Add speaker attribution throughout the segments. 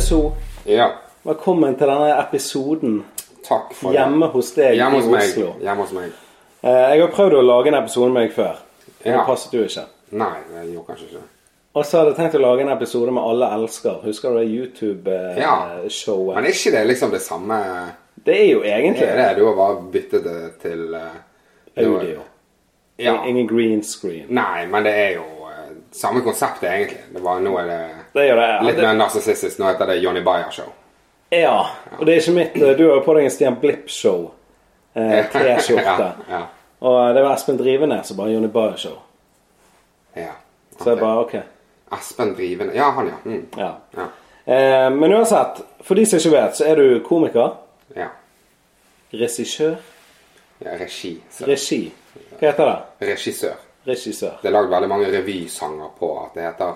Speaker 1: So.
Speaker 2: Ja.
Speaker 1: Velkommen til denne episoden
Speaker 2: Takk for
Speaker 1: hjemme hos deg
Speaker 2: det. Hjemme hos
Speaker 1: i
Speaker 2: meg.
Speaker 1: Oslo.
Speaker 2: Hjemme hos meg.
Speaker 1: Eh, Jeg har prøvd å lage en episode med deg før. men
Speaker 2: Ja.
Speaker 1: Det passet jo ikke.
Speaker 2: Nei, jeg gjorde kanskje ikke det.
Speaker 1: Og så hadde jeg tenkt å lage en episode med Alle elsker. Husker du det
Speaker 2: Ja.
Speaker 1: YouTube-showet?
Speaker 2: Men er ikke det liksom det samme
Speaker 1: Det er jo
Speaker 2: Det
Speaker 1: egentlig
Speaker 2: er det du har bare byttet det til eh, noe-
Speaker 1: audio.
Speaker 2: Ja.
Speaker 1: Ingen green screen.
Speaker 2: Nei, men det er jo eh, samme konseptet, egentlig. Det var, nå er det
Speaker 1: Det gjør det.
Speaker 2: litt
Speaker 1: det
Speaker 2: mer narsissistisk. Nå heter det Johnny Bayer-show.
Speaker 1: ja. Og det er ikke mitt eh, Du har jo på deg en Stian Blipp-show. Eh, T-skjorte.
Speaker 2: ja, ja,
Speaker 1: Og eh, det var Espen Drivenes som bare Johnny Bayer-show.
Speaker 2: ja.
Speaker 1: Så jeg bare OK.
Speaker 2: Espen Driven Ja, han, ja. Mm.
Speaker 1: Ja.
Speaker 2: Ja.
Speaker 1: Eh, men uansett, for de som ikke vet, så er du komiker,
Speaker 2: ja.
Speaker 1: regissør,
Speaker 2: ja regi. så-
Speaker 1: regi. Hva heter det?
Speaker 2: Regissør.
Speaker 1: Regissør.
Speaker 2: Det er lagd veldig mange revysanger på at det heter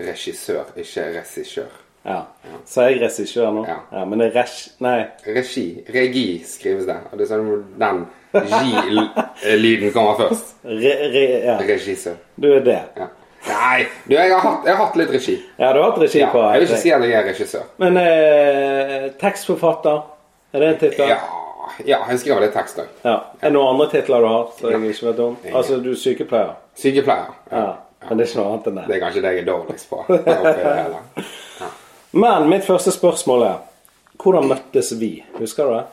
Speaker 2: regissør, ikke regissør.
Speaker 1: Ja. Sa jeg regissør nå?
Speaker 2: Ja.
Speaker 1: Men det er res... Nei.
Speaker 2: Regi. Regi skrives det. Og det er sånn hvor den J-lyden kommer først.
Speaker 1: Re, re, ja.
Speaker 2: Regissør.
Speaker 1: Du er det.
Speaker 2: Ja. Nei, du, jeg har, hatt, jeg har hatt litt regi.
Speaker 1: Ja, du har hatt regi
Speaker 2: Ja.
Speaker 1: på
Speaker 2: Jeg vil ikke si at jeg er regissør.
Speaker 1: Men eh, tekstforfatter, er det en tittel?
Speaker 2: Ja, ja jeg skriver litt tekst òg.
Speaker 1: Ja. Er det noen andre titler du har som jeg ikke vet om? Altså, du er sykepleier?
Speaker 2: Sykepleier.
Speaker 1: Ja. Men det er ikke noe annet enn det.
Speaker 2: Det er kanskje det jeg er dårligst på. oppi det hele.
Speaker 1: Men mitt første spørsmål er Hvordan møttes vi? Husker du det?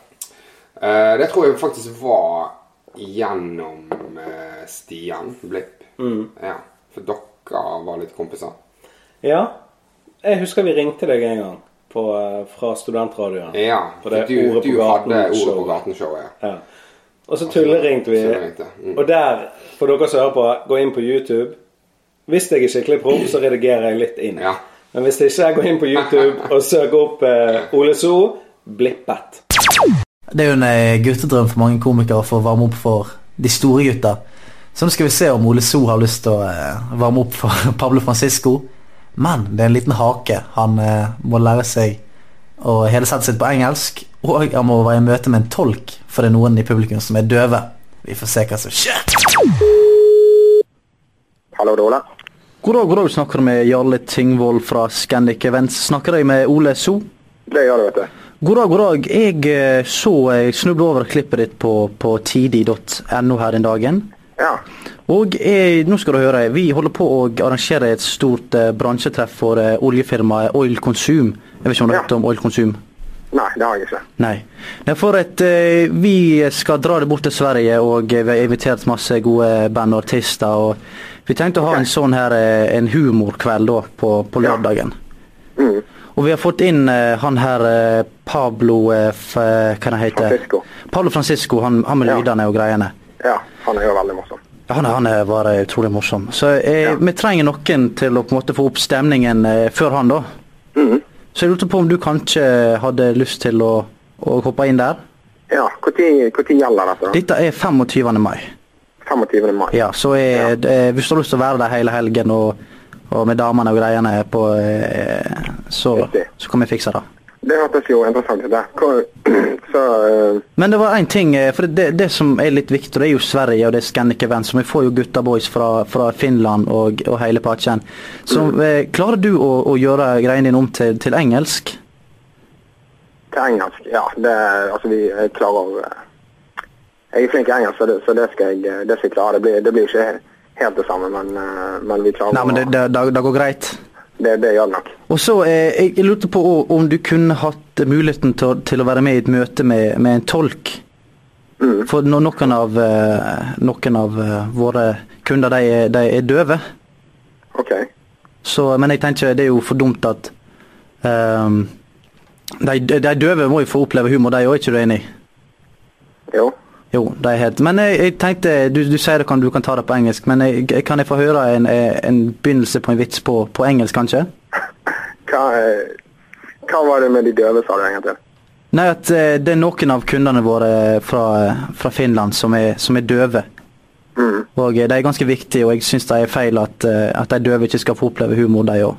Speaker 2: Eh, det tror jeg faktisk var gjennom eh, Stian Blipp.
Speaker 1: Mm.
Speaker 2: Ja, for dere var litt kompiser.
Speaker 1: Ja. Jeg husker vi ringte deg en gang på, eh, fra studentradioen.
Speaker 2: Ja,
Speaker 1: For
Speaker 2: for
Speaker 1: det er
Speaker 2: du,
Speaker 1: Ordet på
Speaker 2: du
Speaker 1: gaten
Speaker 2: hadde Ordet på
Speaker 1: showet.
Speaker 2: gaten-showet.
Speaker 1: Ja. Og så tulleringte vi.
Speaker 2: Så det ringte, mm.
Speaker 1: Og der, for dere som hører på, gå inn på YouTube. Hvis jeg er skikkelig proff, så redigerer jeg litt inn.
Speaker 2: Ja.
Speaker 1: Men hvis ikke, jeg går inn på YouTube og søker opp eh, Ole So blippet.
Speaker 3: Det er jo en eh, guttedrøm for mange komikere for å varme opp for de store gutta. Så nå skal vi se om Ole So har lyst til å eh, varme opp for Pablo Francisco. Men det er en liten hake. Han eh, må lære seg å hele settet sitt på engelsk. Og han må være i møte med en tolk, for det er noen i publikum som er døve. Vi får se hva som skjer.
Speaker 4: Hallo, det er Ola.
Speaker 3: God dag, god dag. Snakker du med Jarle Tingvold fra Scandic Events? Snakker jeg med Ole So?
Speaker 4: Det gjør du, vet du.
Speaker 3: God dag, god dag. Jeg eh, så jeg snublet over klippet ditt på, på tidi.no her den dagen.
Speaker 4: Ja.
Speaker 3: Og eh, nå skal du høre, vi holder på å arrangere et stort eh, bransjetreff for eh, oljefirmaet Oil Konsum. Jeg vet ikke om du har
Speaker 4: Ja.
Speaker 3: hørt om Oil Konsum?
Speaker 4: Nei, det har jeg ikke.
Speaker 3: Nei. Nei for at eh, vi skal dra det bort til Sverige, og eh, vi har invitert masse gode band og artister. Og vi tenkte å ha en sånn her eh, en humorkveld da, på, på
Speaker 4: Ja.
Speaker 3: lørdagen.
Speaker 4: Mm.
Speaker 3: Og vi har fått inn eh, han her eh, Pablo eh, f, Hva han heter
Speaker 4: Francisco.
Speaker 3: Pablo Francisco, han, han med
Speaker 4: Ja.
Speaker 3: lydene og greiene.
Speaker 4: Ja, han er jo veldig morsom.
Speaker 3: Ja, Han, han er- var eh, utrolig morsom. Så eh,
Speaker 4: Ja.
Speaker 3: vi trenger noen til å på en måte få opp stemningen eh, før han, da.
Speaker 4: Mm.
Speaker 3: Så jeg lurte på om du kanskje hadde lyst til å, å hoppe inn der?
Speaker 4: Ja, hvor tid, hvor tid gjelder dette? da?
Speaker 3: Dette er 25. mai.
Speaker 4: 25. mai.
Speaker 3: Ja, så eh,
Speaker 4: Ja.
Speaker 3: det- hvis du har lyst til å være der hele helgen og, og med damene og greiene på eh, så,
Speaker 4: Riktig.
Speaker 3: så kan vi fikse det.
Speaker 4: Det hørtes jo interessant ut, det. Hvor, så eh,
Speaker 3: Men det var én ting, eh, for det, det som er litt viktig, og det er jo Sverige og det er Scandic Event, så vi får jo gutta boys fra, fra Finland og, og hele patchen. Så eh, klarer du å, å gjøre greiene dine om til, til engelsk?
Speaker 4: til engelsk Ja, det Altså, vi jeg klarer eh, Jeg er flink i engelsk, så det, så det, skal, jeg, eh, det skal jeg klare. Det blir, det blir ikke he- helt det samme, men, eh, men vi klarer
Speaker 3: Nei, men det,
Speaker 4: å
Speaker 3: det, det, det går greit.
Speaker 4: det, det gjør det nok.
Speaker 3: Og så, eh, jeg, jeg lurte på o- om du kunne hatt muligheten til, å- til å være med i et møte med, med en tolk. For når noen av, eh, noen av eh, våre kunder, de, er- de er døve.
Speaker 4: OK.
Speaker 3: Så, men jeg tenker det er jo for dumt at ehm, de, de døve må jo få oppleve humor, de òg, er ikke du enig?
Speaker 4: Jo.
Speaker 3: Jo, de er helt Men jeg, jeg tenkte Du, du sier det kan, du kan ta det på engelsk, men jeg, jeg, kan jeg få høre en, eh, en begynnelse på en vits på, på engelsk, kanskje?
Speaker 4: Hva, eh, hva var det med de døve, sa du en gang til?
Speaker 3: Nei, at eh, det er noen av kundene våre fra, fra Finland som er, som er døve.
Speaker 4: Mm.
Speaker 3: Og eh, de er ganske viktige, og jeg syns det er feil at, eh, at de døve ikke skal få oppleve humor, de òg.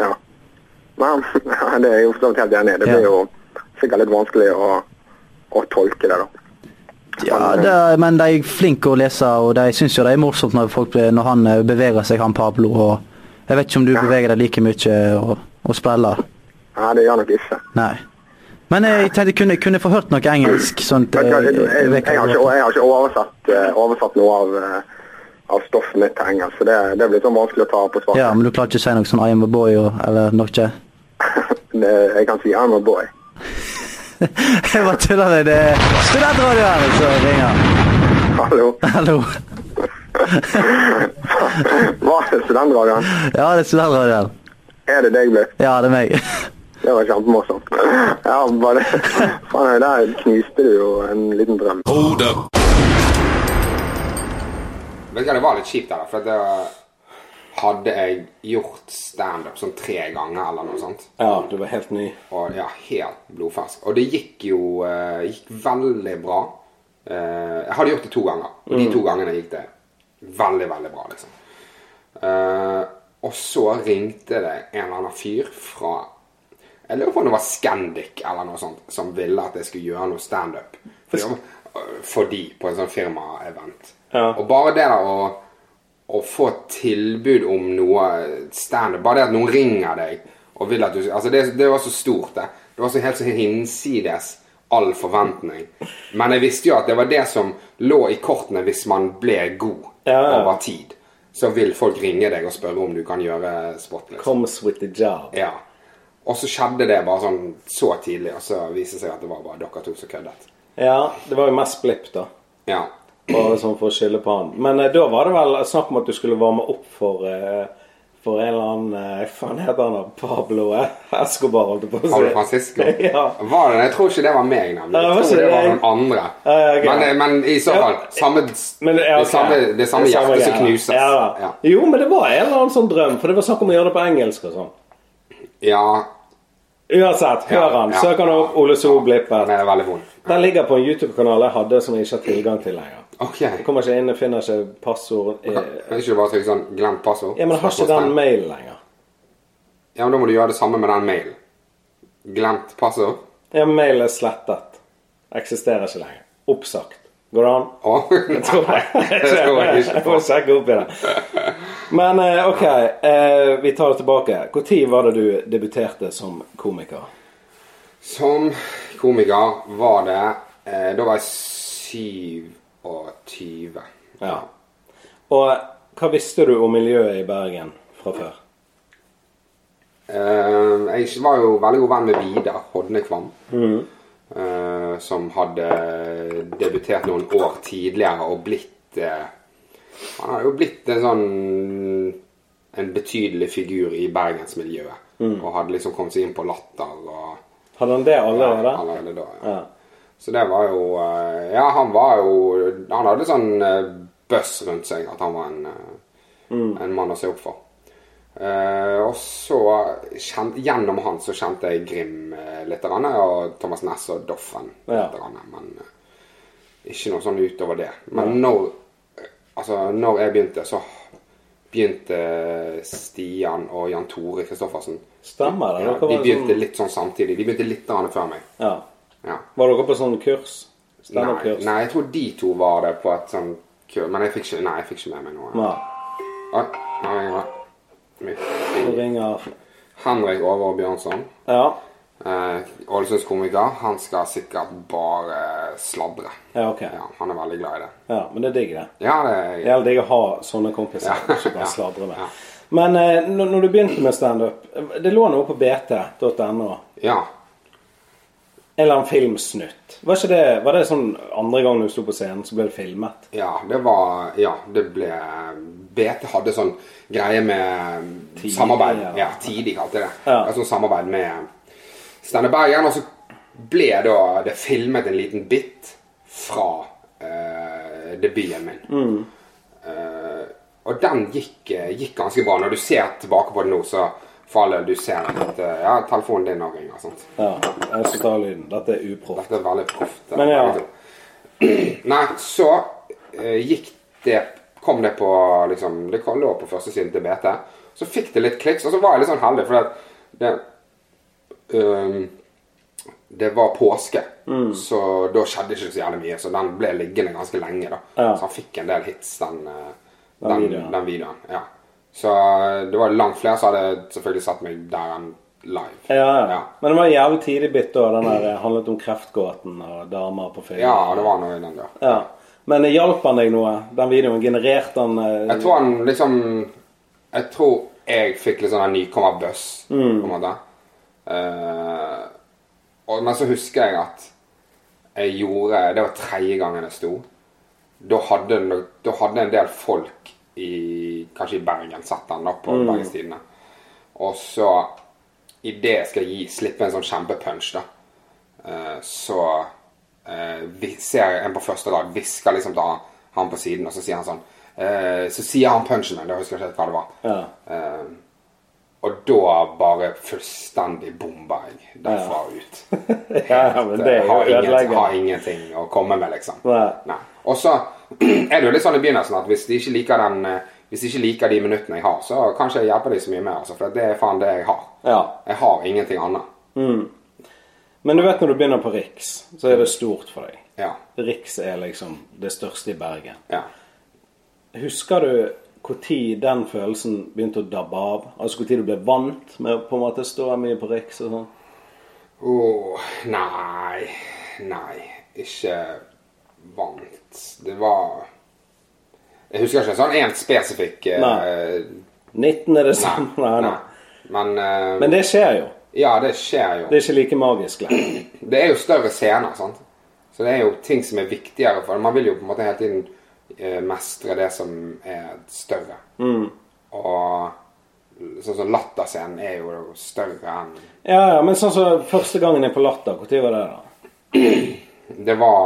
Speaker 4: Ja. Men det er jeg jo for så vidt helt enig i. Det
Speaker 3: Ja.
Speaker 4: blir jo sikkert litt vanskelig å, å tolke det, da.
Speaker 3: Ja, det er, men de er flinke å lese, og de syns jo det er morsomt når, folk, blir- når han eh, beveger seg, han Pablo. Og jeg vet ikke om du beveger deg like mye og, og spreller.
Speaker 4: Nei, det gjør nok ikke.
Speaker 3: Nei. Men jeg tenkte, kunne, kunne jeg få hørt noe engelsk? Sånt,
Speaker 4: Jeg, jeg, jeg,
Speaker 3: eh,
Speaker 4: jeg, har, ikke, jeg har ikke oversatt, eh, oversatt noe av, eh, av stoffet mitt til engelsk, så det, det blir sånn vanskelig å ta på svart.
Speaker 3: Ja, men du klarer ikke å si noe sånn I am a boy og, eller noe?
Speaker 4: Det, jeg kan si I'm a boy.
Speaker 3: Jeg bare tuller med det. er Studentradio her, så ringer.
Speaker 4: Hallo.
Speaker 3: Hallo.
Speaker 4: Hva er studentradioen?
Speaker 3: Ja, det er studentradioen.
Speaker 4: Er det deg, Bløff?
Speaker 3: Ja, det er meg.
Speaker 4: Det var kjempemorsomt. Ja, bare Faen, der knuste du jo en liten drøm.
Speaker 5: Hold up.
Speaker 2: Vet du hva, det var litt kjipt der, da, for at det hadde jeg gjort standup sånn tre ganger eller noe sånt.
Speaker 1: Ja, du var helt ny.
Speaker 2: Og ja, helt blodfersk. Og det gikk jo eh, gikk veldig bra. Eh, jeg hadde gjort det to ganger, og
Speaker 1: Mm.
Speaker 2: de to gangene gikk det veldig, veldig bra, liksom. Eh, og så ringte det en eller annen fyr fra Jeg lurer på om det var Scandic eller noe sånt, som ville at jeg skulle gjøre noe standup. For, de- for de, på en sånn firmaevent.
Speaker 1: Ja.
Speaker 2: Og bare det der å å få tilbud om noe standup. Bare det at noen ringer deg og vil at du Altså, det, det var så stort, det. Det var så helt så hinsides all forventning. Men jeg visste jo at det var det som lå i kortene hvis man ble god
Speaker 1: Ja, ja.
Speaker 2: over tid. Så vil folk ringe deg og spørre om du kan gjøre spot. Liksom.
Speaker 1: Comes with the job.
Speaker 2: Ja. Og så skjedde det bare sånn så tidlig, og så viste det seg at det var bare dere to som køddet.
Speaker 1: Ja, det var jo mest blipp, da.
Speaker 2: Ja.
Speaker 1: Bare sånn for å skylde på han. Men eh, da var det vel snakk om at du skulle varme opp for eh, for en eller annen eh, Faen, heter han da? Pablo eh, Escobar, holdt jeg på å si.
Speaker 2: Paolo Francisco.
Speaker 1: ja.
Speaker 2: Var det det? Jeg tror ikke det var meg, nemlig.
Speaker 1: Ja, det var
Speaker 2: Jeg tror
Speaker 1: ikke
Speaker 2: det var
Speaker 1: det.
Speaker 2: noen andre.
Speaker 1: Ja, ja, ok.
Speaker 2: men, eh, men i så
Speaker 1: Ja.
Speaker 2: fall samme,
Speaker 1: Men, eh, ja,
Speaker 2: det,
Speaker 1: ok.
Speaker 2: samme, det samme hjertet som
Speaker 1: greia.
Speaker 2: knuses.
Speaker 1: Ja, da.
Speaker 2: Ja.
Speaker 1: Jo, men det var en eller annen sånn drøm, for det var snakk om å gjøre det på engelsk og sånn.
Speaker 2: Ja,
Speaker 1: Uansett,
Speaker 2: ja,
Speaker 1: hør han.
Speaker 2: ja.
Speaker 1: Søk han opp, Ole So Blippet.
Speaker 2: Den er veldig vond.
Speaker 1: Den ligger på en YouTube-kanal jeg hadde som jeg ikke har tilgang til lenger.
Speaker 2: Ok.
Speaker 1: Jeg kommer ikke inn, jeg finner ikke passord eh,
Speaker 2: Kan kan ikke du bare trykke sånn 'glemt passord'?
Speaker 1: Ja, men jeg har ikke den mailen lenger.
Speaker 2: Ja, men Da må du gjøre det samme med den mailen. Glemt passord?
Speaker 1: Ja, mailen er slettet. Eksisterer ikke lenger. Oppsagt. Går det an?
Speaker 2: Å,
Speaker 1: Jeg tror det.
Speaker 2: det tror jeg ikke
Speaker 1: Jeg må sjekke opp i det. Men eh, ok, eh, vi tar det tilbake. Når var det du debuterte som komiker?
Speaker 2: Som komiker var det eh, Da var jeg 27.
Speaker 1: Ja. Og hva visste du om miljøet i Bergen fra før?
Speaker 2: Eh, jeg var jo veldig god venn med Vidar Hodne Kvam.
Speaker 1: Mm.
Speaker 2: eh, som hadde debutert noen år tidligere og blitt eh, Han har jo blitt en sånn En betydelig figur i bergensmiljøet.
Speaker 1: Mm.
Speaker 2: Og hadde liksom kommet seg inn på Latter og
Speaker 1: Hadde han det allerede?
Speaker 2: allerede da. Ja.
Speaker 1: Ja.
Speaker 2: Så det var jo eh, Ja, han var jo Han hadde sånn eh, buzz rundt seg at han var en, eh,
Speaker 1: Mm.
Speaker 2: en mann å se opp for. Eh, og så kjen- Gjennom han så kjente jeg Grim eh, litt, grann, og Thomas Næss og Doffen litt.
Speaker 1: Ja.
Speaker 2: Grann, men eh, ikke noe sånn utover det. Men når, altså, når jeg begynte, så begynte Stian og Jan Tore Kristoffersen
Speaker 1: Stemmer det?
Speaker 2: ja,
Speaker 1: Dere
Speaker 2: De
Speaker 1: var
Speaker 2: begynte
Speaker 1: sånn...
Speaker 2: litt sånn samtidig. De begynte litt grann før meg.
Speaker 1: ja.
Speaker 2: Ja.
Speaker 1: Var dere på sånn kurs?
Speaker 2: Nei,
Speaker 1: Standup-kurs?
Speaker 2: nei, jeg tror de to var det på et sånn kurs. Men jeg fikk ikke, nei, jeg fikk ikke med meg noe.
Speaker 1: Nei.
Speaker 2: Oi, nå ringer det.
Speaker 1: Nå ringer
Speaker 2: Henrik Over og Bjørnson,
Speaker 1: Ja.
Speaker 2: eh, Ålesunds komiker, han skal sikkert bare sladre.
Speaker 1: Ja, ok.
Speaker 2: Ja, han er veldig glad i det.
Speaker 1: ja. Men det er digg, det.
Speaker 2: Ja, det
Speaker 1: Det er digg å ha sånne kompiser
Speaker 2: Ja.
Speaker 1: som kan
Speaker 2: Ja.
Speaker 1: sladre med.
Speaker 2: Ja.
Speaker 1: Men eh, når når du begynte med standup eh, Det lå noe på bt.no.
Speaker 2: Ja.
Speaker 1: En eller annen filmsnutt. Var, ikke det, var det sånn andre gang du sto på scenen, så ble det filmet?
Speaker 2: Ja, det var Ja, det ble BT hadde sånn greie med
Speaker 1: Tidlig,
Speaker 2: samarbeid.
Speaker 1: ja.
Speaker 2: Ja, tidlig kalte det.
Speaker 1: Ja.
Speaker 2: Altså samarbeid med Steinar Bergen. Og så ble da det filmet en liten bit fra eh, debuten min.
Speaker 1: Mm.
Speaker 2: Eh, og den gikk, eh, gikk ganske bra. Når du ser tilbake på det nå, så for all del, du ser at eh, ja, telefonen din òg ringer. sant?
Speaker 1: Ja. Jeg skal ta lyden. Dette er uproft.
Speaker 2: Dette er veldig proft.
Speaker 1: Men ja.
Speaker 2: Nei, så eh, gikk det Kom det på liksom Det kom- lå på førstesiden til BT. Så fikk det litt kliks, og så var jeg litt sånn heldig, fordi at det ehm, Det var påske,
Speaker 1: Mm.
Speaker 2: så da skjedde ikke så jævlig mye. Så den ble liggende ganske lenge, da.
Speaker 1: Ja.
Speaker 2: Så han fikk en del hits, den, eh,
Speaker 1: Den
Speaker 2: den,
Speaker 1: videoen.
Speaker 2: øh, den videoen. Ja. Så det var langt flere som hadde selvfølgelig sett meg der enn live.
Speaker 1: Ja, ja.
Speaker 2: ja.
Speaker 1: Men det var en jævlig tidlig bit da. Den der eh, handlet om kreftgåten og damer på film.
Speaker 2: Ja, det var noe i den der.
Speaker 1: Ja. Men eh, hjalp han deg noe? Den videoen genererte han eh,
Speaker 2: Jeg tror han liksom Jeg tror jeg fikk litt sånn en nykommerbuzz, på en måte. Eh, og, men så husker jeg at jeg gjorde Det var tredje gangen jeg sto. Da hadde, no- da hadde en del folk i Kanskje i Bergen sett den da på Bergens Tidende. Og så I det jeg skal gi, slippe en sånn kjempepunch, da, eh, så eh, vi- ser en på første rad hvisker liksom da han på siden, og så sier han sånn eh, Så sier han punchen min, da husker jeg ikke helt hva det var.
Speaker 1: Ja.
Speaker 2: Eh, og da bare fullstendig bomba jeg derfra og ut.
Speaker 1: Ja, men det er jo
Speaker 2: har, ingenting,
Speaker 1: ødeleggende.
Speaker 2: har ingenting å komme med, liksom.
Speaker 1: Nei.
Speaker 2: Og så er det jo litt sånn i begynnelsen at hvis de ikke liker den eh, hvis de ikke liker de minuttene jeg har, så kanskje jeg hjelper de så mye mer. Altså, for det er faen det jeg har.
Speaker 1: Ja.
Speaker 2: Jeg har ingenting annet.
Speaker 1: Men du vet når du begynner på Riks, så er det stort for deg.
Speaker 2: Ja.
Speaker 1: Riks er liksom det største i Bergen.
Speaker 2: ja.
Speaker 1: Husker du når den følelsen begynte å dabbe av? Altså når du ble vant med å på en måte stå mye på Riks og sånn?
Speaker 2: Åh, nei Nei, ikke vant. Det var Jeg husker ikke en sånn en spesifikk eh,
Speaker 1: Nei. 19 er det samme. Nei, nei.
Speaker 2: Men, eh,
Speaker 1: Men det skjer jo.
Speaker 2: Ja, det skjer jo.
Speaker 1: Det er ikke like magisk lenger.
Speaker 2: Det er jo større scener, sant. Så det er jo ting som er viktigere for Man vil jo på en måte hele tiden eh, mestre det som er større. Og sånn som Latterscenen er jo større enn
Speaker 1: Ja, ja, men sånn som første gangen jeg på Latter, når var det da?
Speaker 2: Det var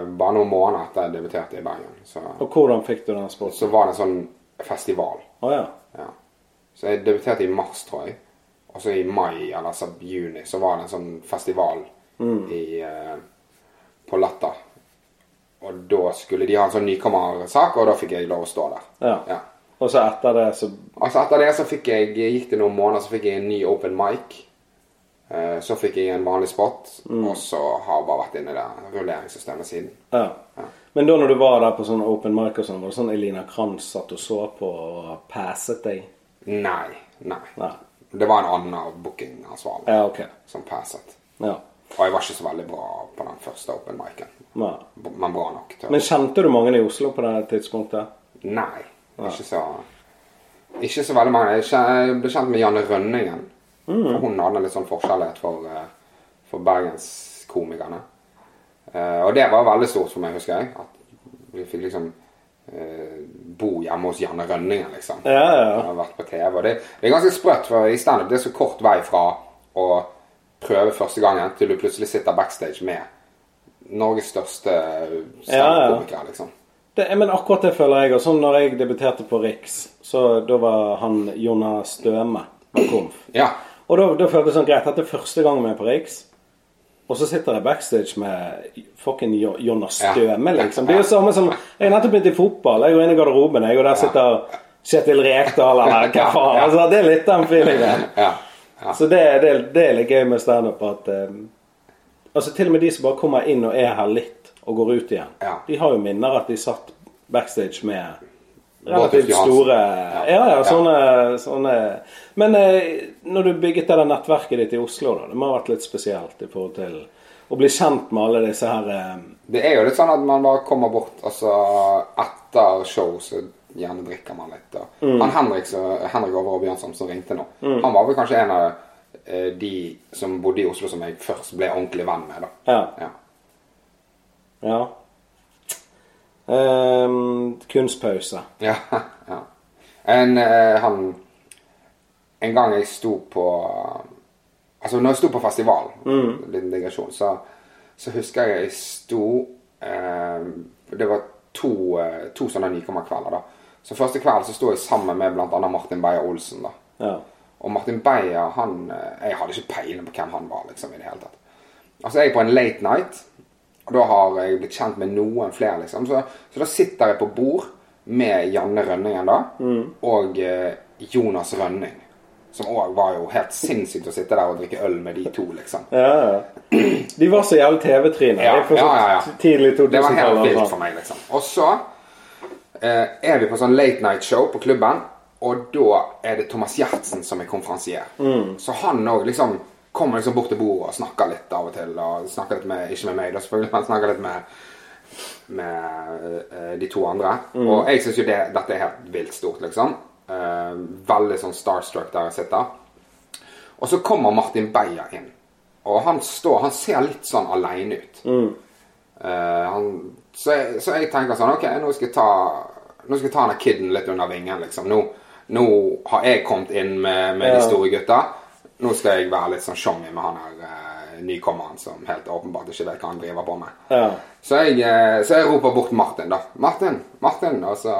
Speaker 2: eh, bare noen måneder etter jeg debuterte i Bergen. Så,
Speaker 1: Og hvordan fikk du den sporten?
Speaker 2: så var det en sånn festival.
Speaker 1: Å ja.
Speaker 2: Ja. Så jeg debuterte i mars, tror jeg. Og så i mai, eller altså juni, så var det en sånn festival
Speaker 1: Mm.
Speaker 2: i, eh, på Latter. Og da skulle de ha en sånn nykommersak, og da fikk jeg lov å stå der.
Speaker 1: ja. Og så etter det så
Speaker 2: Altså Etter det så fikk jeg, gikk det noen måneder, så fikk jeg en ny open mic. Eh, Så fikk jeg en vanlig spot,
Speaker 1: Mm.
Speaker 2: og så har jeg bare vært inne i det rulleringssystemet siden.
Speaker 1: Ja. Men da når du var der på sånn open mic og sånn, var det sånn Elina Kranz satt og så på og passet deg?
Speaker 2: Nei. Nei.
Speaker 1: Nei.
Speaker 2: Det var en annen bookingansvarlig
Speaker 1: Ja, ok.
Speaker 2: som passet.
Speaker 1: Ja.
Speaker 2: Og jeg var ikke så veldig bra på den første open micen.
Speaker 1: Nei.
Speaker 2: B- Men bra nok til å
Speaker 1: Men kjente du mange i Oslo på det tidspunktet?
Speaker 2: Nei. Ikke så Ikke så veldig mange. Jeg kjen- Jeg ble kjent med Janne Rønningen.
Speaker 1: Mm.
Speaker 2: For hun hadde litt sånn forskjellighet for, eh, for bergenskomikerne. Eh, og det var veldig stort for meg, husker jeg. At vi fikk liksom eh, bo hjemme hos Janne Rønningen, liksom.
Speaker 1: Ja, ja,
Speaker 2: Jeg har vært på TV. Og det, det er ganske sprøtt, for i standup det er så kort vei fra å prøve første gangen til du plutselig sitter backstage med Norges største standup-komiker, liksom.
Speaker 1: Det, men akkurat det føler jeg. Og sånn når jeg debuterte på Riks, så da var han Jonas Støme var komf.
Speaker 2: Ja.
Speaker 1: Og da, da føltes det sånn greit. Dette er første gangen vi er på Riks. Og så sitter jeg backstage med fucking Jo- Jonas
Speaker 2: Ja.
Speaker 1: Støme, liksom. Det er jo
Speaker 2: Ja.
Speaker 1: samme som Jeg har nettopp begynt i fotball. Jeg går inn i garderoben, jeg, og der sitter Kjetil Rekdal eller hva faen.
Speaker 2: Ja.
Speaker 1: Altså, det er litt den feelingen.
Speaker 2: ja. ja.
Speaker 1: Så det, det, det er litt gøy med standup at eh, Altså til og med de som bare kommer inn og er her litt, og går ut igjen,
Speaker 2: Ja.
Speaker 1: de har jo minner at de satt backstage med
Speaker 2: Bård Tufte
Speaker 1: relativt
Speaker 2: Johansen.
Speaker 1: store
Speaker 2: Ja.
Speaker 1: Ja, ja,
Speaker 2: Ja.
Speaker 1: sånne, sånne Men eh, når du bygget det der nettverket ditt i Oslo, da, det må ha vært litt spesielt i forhold til å bli kjent med alle disse her eh,
Speaker 2: Det er jo litt sånn at man bare kommer bort, og så etter show så gjerne drikker man litt. Og.
Speaker 1: Mm.
Speaker 2: Han Henrik, så, Henrik Over og Bjørnson som ringte nå, han var vel kanskje en av eh, de som bodde i Oslo som jeg først ble ordentlig venn med, da.
Speaker 1: Ja. Ja. Ehm, kunstpause.
Speaker 2: Ja. ja. En, eh, han, en gang jeg sto på Altså, når jeg sto på festival, liten digresjon, så, så husker jeg jeg sto eh, Det var to, eh, to sånne nykommerkvelder, da. Så første kvelden så sto jeg sammen med bl.a. Martin Beyer-Olsen, da.
Speaker 1: Ja.
Speaker 2: Og Martin Beyer, han eh, Jeg hadde ikke peiling på hvem han var, liksom, i det hele tatt. Altså, jeg er på en late night, og da har jeg blitt kjent med noen flere, liksom. Så, så da sitter jeg på bord med Janne Rønningen, da, og eh, Jonas Rønning. Som òg var jo helt sinnssykt å sitte der og drikke øl med de to, liksom.
Speaker 1: Ja, ja. De var så jævlig TV-tryner.
Speaker 2: Ja,
Speaker 1: de er for så
Speaker 2: ja, ja, ja.
Speaker 1: Tidlig
Speaker 2: Det var
Speaker 1: 2000-tallet.
Speaker 2: helt
Speaker 1: og
Speaker 2: vilt
Speaker 1: sånn.
Speaker 2: for meg, liksom. Og så eh, er vi på sånn late night show på klubben, Og da er det Thomas Gjertsen som er konferansier. Så han òg liksom kommer liksom bort til bordet og snakker litt av og til. Og snakker litt med, ikke med meg, da selvfølgelig, men han snakker litt med, med eh, de to andre. Og jeg syns jo det, dette er helt vilt stort, liksom. Eh, veldig sånn starstruck der jeg sitter. Og så kommer Martin Beyer inn. Og han står Han ser litt sånn aleine ut. Eh, han, så, jeg, så jeg tenker sånn OK, nå skal jeg ta Nå skal jeg ta denne kiden litt under vingen, liksom. Nå, nå har jeg kommet inn med, med
Speaker 1: Ja.
Speaker 2: de store gutta. Nå skal jeg være litt sånn sjong med han her eh, nykommeren som helt åpenbart ikke vet hva han driver på med.
Speaker 1: Ja.
Speaker 2: Så jeg, eh, så jeg roper bort Martin, da. Martin, Martin, og så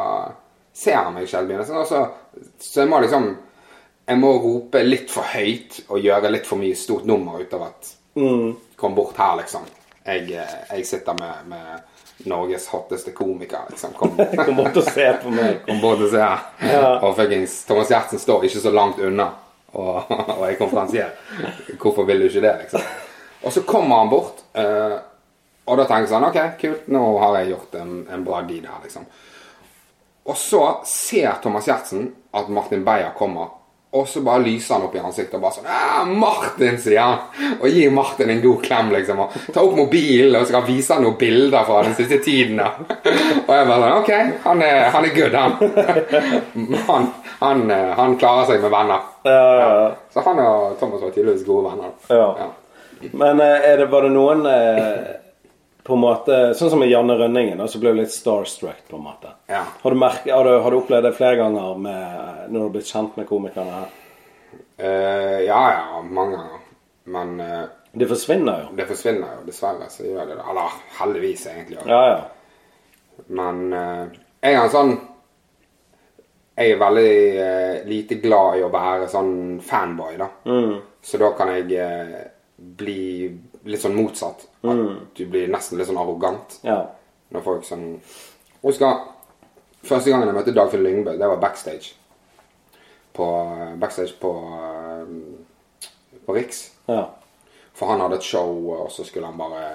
Speaker 2: ser han meg selv begynne. sånn, og Så, så jeg må liksom Jeg må rope litt for høyt og gjøre litt for mye stort nummer ut av at Kom bort her, liksom. Jeg, eh, jeg sitter med, med Norges hotteste komiker, liksom. Kom,
Speaker 1: Kom bort og se på meg.
Speaker 2: kom bort og se her. Og fuckings Thomas Gjertsen står ikke så langt unna, og, og jeg konferansier. Hvorfor vil du ikke det, liksom? Og så kommer han bort, eh, og da tenker jeg sånn OK, kult, nå har jeg gjort en, en bra deed her, liksom. Og så ser Thomas Gjertsen at Martin Beyer kommer. Og så bare lyser han opp i ansiktet og bare sånn «Ah, 'Martin', sier han. Og gir Martin en god klem, liksom. Og tar opp mobilen og skal vise han noen bilder fra den siste tiden. da. Og jeg bare sånn OK, han er, han er good, han. Han, han. eh, han klarer seg med venner.
Speaker 1: Ja, ja.
Speaker 2: Så han og Thomas var tydeligvis gode venner. da.
Speaker 1: Ja. Men eh, er det, var det noen eh, på en måte, Sånn som med Janne Rønningen, da, så ble du litt starstruck, på en måte.
Speaker 2: Ja.
Speaker 1: Har, du merket, har, du, har du opplevd det flere ganger med, når du har blitt kjent med komikerne her?
Speaker 2: Eh, ja, ja, mange ganger. Men eh,
Speaker 1: De forsvinner jo.
Speaker 2: det forsvinner jo, dessverre. Så gjør det det. Eller heldigvis, egentlig. Ja.
Speaker 1: Ja, ja.
Speaker 2: Men eh, jeg er en sånn Jeg er veldig eh, lite glad i å være sånn fanboy, da. Så da kan jeg eh, bli litt sånn motsatt. At du blir nesten litt sånn arrogant.
Speaker 1: ja.
Speaker 2: Når folk sånn Jeg Husker første gangen jeg møtte Dagfinn Lyngbø, det var backstage. På, backstage på, eh, på Riks.
Speaker 1: ja.
Speaker 2: For han hadde et show, og så skulle han bare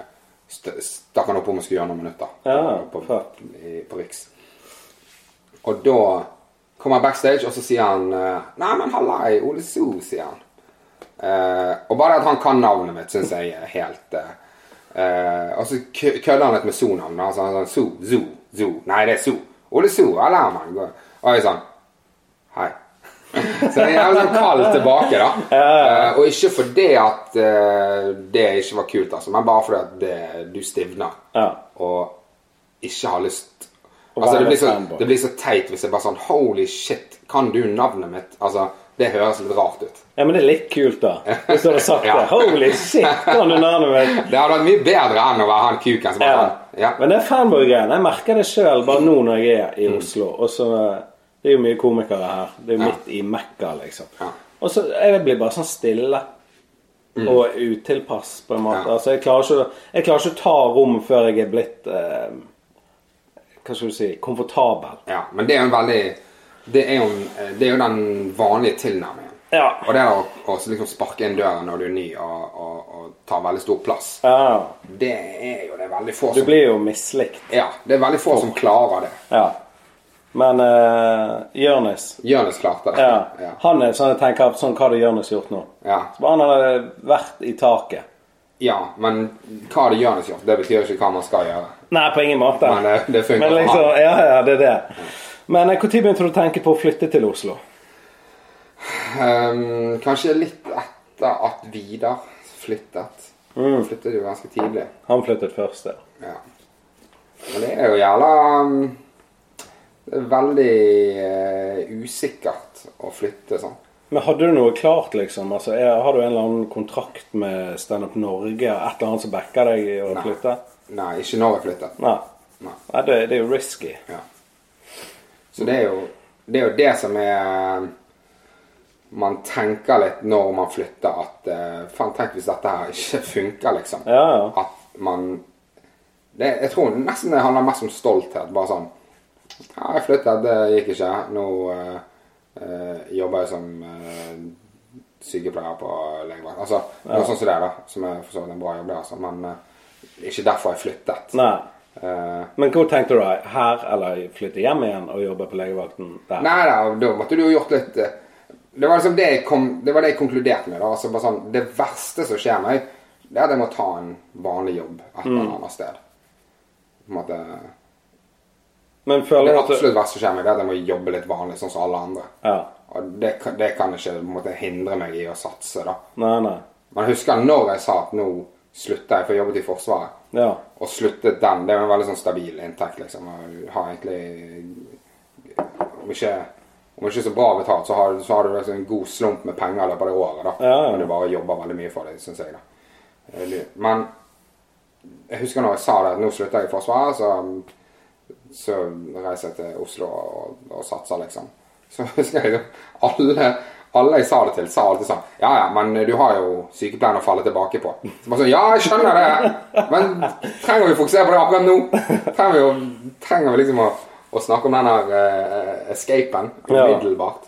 Speaker 2: st Stakk han opp om han skulle gjøre noen minutter.
Speaker 1: Ja,
Speaker 2: på,
Speaker 1: fuck.
Speaker 2: i, på Riks. Og da kommer han backstage, og så sier han eh, Nei, men hallai, Ole So, sier han. Eh, og bare det at han kan navnet mitt, syns jeg er helt eh, eh, Og så kø- kødder han litt med So-navnet. Altså, han er sånn So, Zoo, Zoo. Nei, det er So. Ole So, eller man. går- Og jeg er sånn Hei. Så jeg er sånn kald tilbake, da. Eh, og ikke fordi at eh, det ikke var kult, altså, men bare fordi at det, du stivner.
Speaker 1: Ja.
Speaker 2: Og ikke har lyst
Speaker 1: Å
Speaker 2: Altså,
Speaker 1: være
Speaker 2: det blir, så,
Speaker 1: fanboy.
Speaker 2: det blir så teit hvis jeg bare sånn Holy shit, kan du navnet mitt? Altså, det høres litt rart ut.
Speaker 1: Ja, Men det er litt kult, da. Hvis du hadde sagt
Speaker 2: Ja.
Speaker 1: det. Holy shit, kan du nærme meg?
Speaker 2: Det hadde vært mye bedre enn å være han kuken som bare
Speaker 1: Ja.
Speaker 2: sånn Ja.
Speaker 1: Men det fanboy-greiene, jeg merker det sjøl bare nå når jeg er i Oslo. Og så eh, Det er jo mye komikere her. Det er jo
Speaker 2: Mm. Ja.
Speaker 1: midt i Mekka, liksom.
Speaker 2: Ja. Mm.
Speaker 1: Og så jeg blir bare sånn stille. Og utilpass, på en måte.
Speaker 2: Ja.
Speaker 1: Altså, jeg klarer, ikke, jeg klarer ikke å ta rom før jeg er blitt eh, Hva skal du si komfortabel.
Speaker 2: ja. Men det er jo en veldig Det er jo, en, det er jo den vanlige tilnærmingen.
Speaker 1: Ja.
Speaker 2: Og det å, å liksom sparke inn døren når du er ny og, og, og tar veldig stor plass,
Speaker 1: ja.
Speaker 2: det er jo det er veldig få
Speaker 1: Du
Speaker 2: som
Speaker 1: blir jo mislikt.
Speaker 2: Ja, det er veldig få som klarer det.
Speaker 1: Ja. Men uh, Jørnis
Speaker 2: Jonis klarte det.
Speaker 1: ja.
Speaker 2: Ja.
Speaker 1: Han er sånn jeg tenker sånn, Hva hadde Jørnis gjort nå?
Speaker 2: Ja.
Speaker 1: Så bare han hadde vært i taket.
Speaker 2: ja, men hva det Jonis gjort, det betyr ikke hva man skal gjøre.
Speaker 1: Nei, på ingen måte.
Speaker 2: Men det- det funker
Speaker 1: Men
Speaker 2: for
Speaker 1: liksom,
Speaker 2: han.
Speaker 1: ja, ja, det er det. Men når begynte du å tenke på å flytte til Oslo?
Speaker 2: Ehm, kanskje litt etter at Vidar flyttet.
Speaker 1: Mm.
Speaker 2: Han Flyttet jo ganske tidlig.
Speaker 1: Han flyttet først, ja.
Speaker 2: Ja. Men det er jo jævla um, Det er veldig eh, usikkert å flytte sånn.
Speaker 1: Men hadde du noe klart, liksom? Altså, er, har du en eller annen kontrakt med Standup Norge? Et eller annet som backer deg i å
Speaker 2: Nei.
Speaker 1: flytte?
Speaker 2: Nei, ikke når jeg flyttet.
Speaker 1: Nei.
Speaker 2: Nei.
Speaker 1: Nei, det, det er jo risky.
Speaker 2: Ja. Så det er jo det, er jo det som er Man tenker litt når man flytter at eh, Faen, tenk hvis dette her ikke funker, liksom.
Speaker 1: Ja, ja.
Speaker 2: At man det, Jeg tror nesten det handler mest om stolthet. Bare sånn Ja, jeg flyttet, det gikk ikke. Nå eh, eh, jobber jeg som eh, sykepleier på legevakt. Altså, noe sånt som det, da. Som er for så vidt en bra jobb, det, altså. Men eh, ikke derfor jeg flyttet.
Speaker 1: Nei.
Speaker 2: Eh,
Speaker 1: Men hvor tenkte du deg? Her, eller flytte hjem igjen og jobbe på legevakten der?
Speaker 2: Nei da, da måtte du jo gjort litt eh, Det var liksom det jeg, kom, det var det jeg konkluderte med. da, altså bare sånn, Det verste som skjer meg, det er at jeg må ta en vanlig jobb et eller annet sted. På en måte,
Speaker 1: Men
Speaker 2: det
Speaker 1: føler du at du
Speaker 2: absolutt verste som skjer meg, det er at jeg må jobbe litt vanlig, sånn som alle andre.
Speaker 1: Ja.
Speaker 2: Og det, kan- det kan ikke på en måte, hindre meg i å satse, da.
Speaker 1: Nei, nei.
Speaker 2: Man husker når jeg sa at nå slutter jeg, for jeg jobbet i Forsvaret.
Speaker 1: Ja.
Speaker 2: Og sluttet den. Det er jo en veldig sånn stabil inntekt, liksom. Og har egentlig Om ikke, om ikke så bra betalt, så har, så har du liksom en god slump med penger i løpet av det året, da.
Speaker 1: Ja, ja.
Speaker 2: Men du bare jobber veldig mye for det, syns jeg, da. Eller- Men jeg husker når jeg sa det, at nå slutter jeg i Forsvaret, så, så reiser jeg til Oslo og, og satser, liksom. Så husker jeg jo alle, alle jeg sa det til, sa alltid sånn Ja ja, men du har jo sykepleien å falle tilbake på. Så bare sånn, Ja, jeg skjønner det, men trenger vi å fokusere på det akkurat nå? Trenger vi, å, trenger vi liksom å, å snakke om den her eh, escapen
Speaker 1: Ja.
Speaker 2: umiddelbart?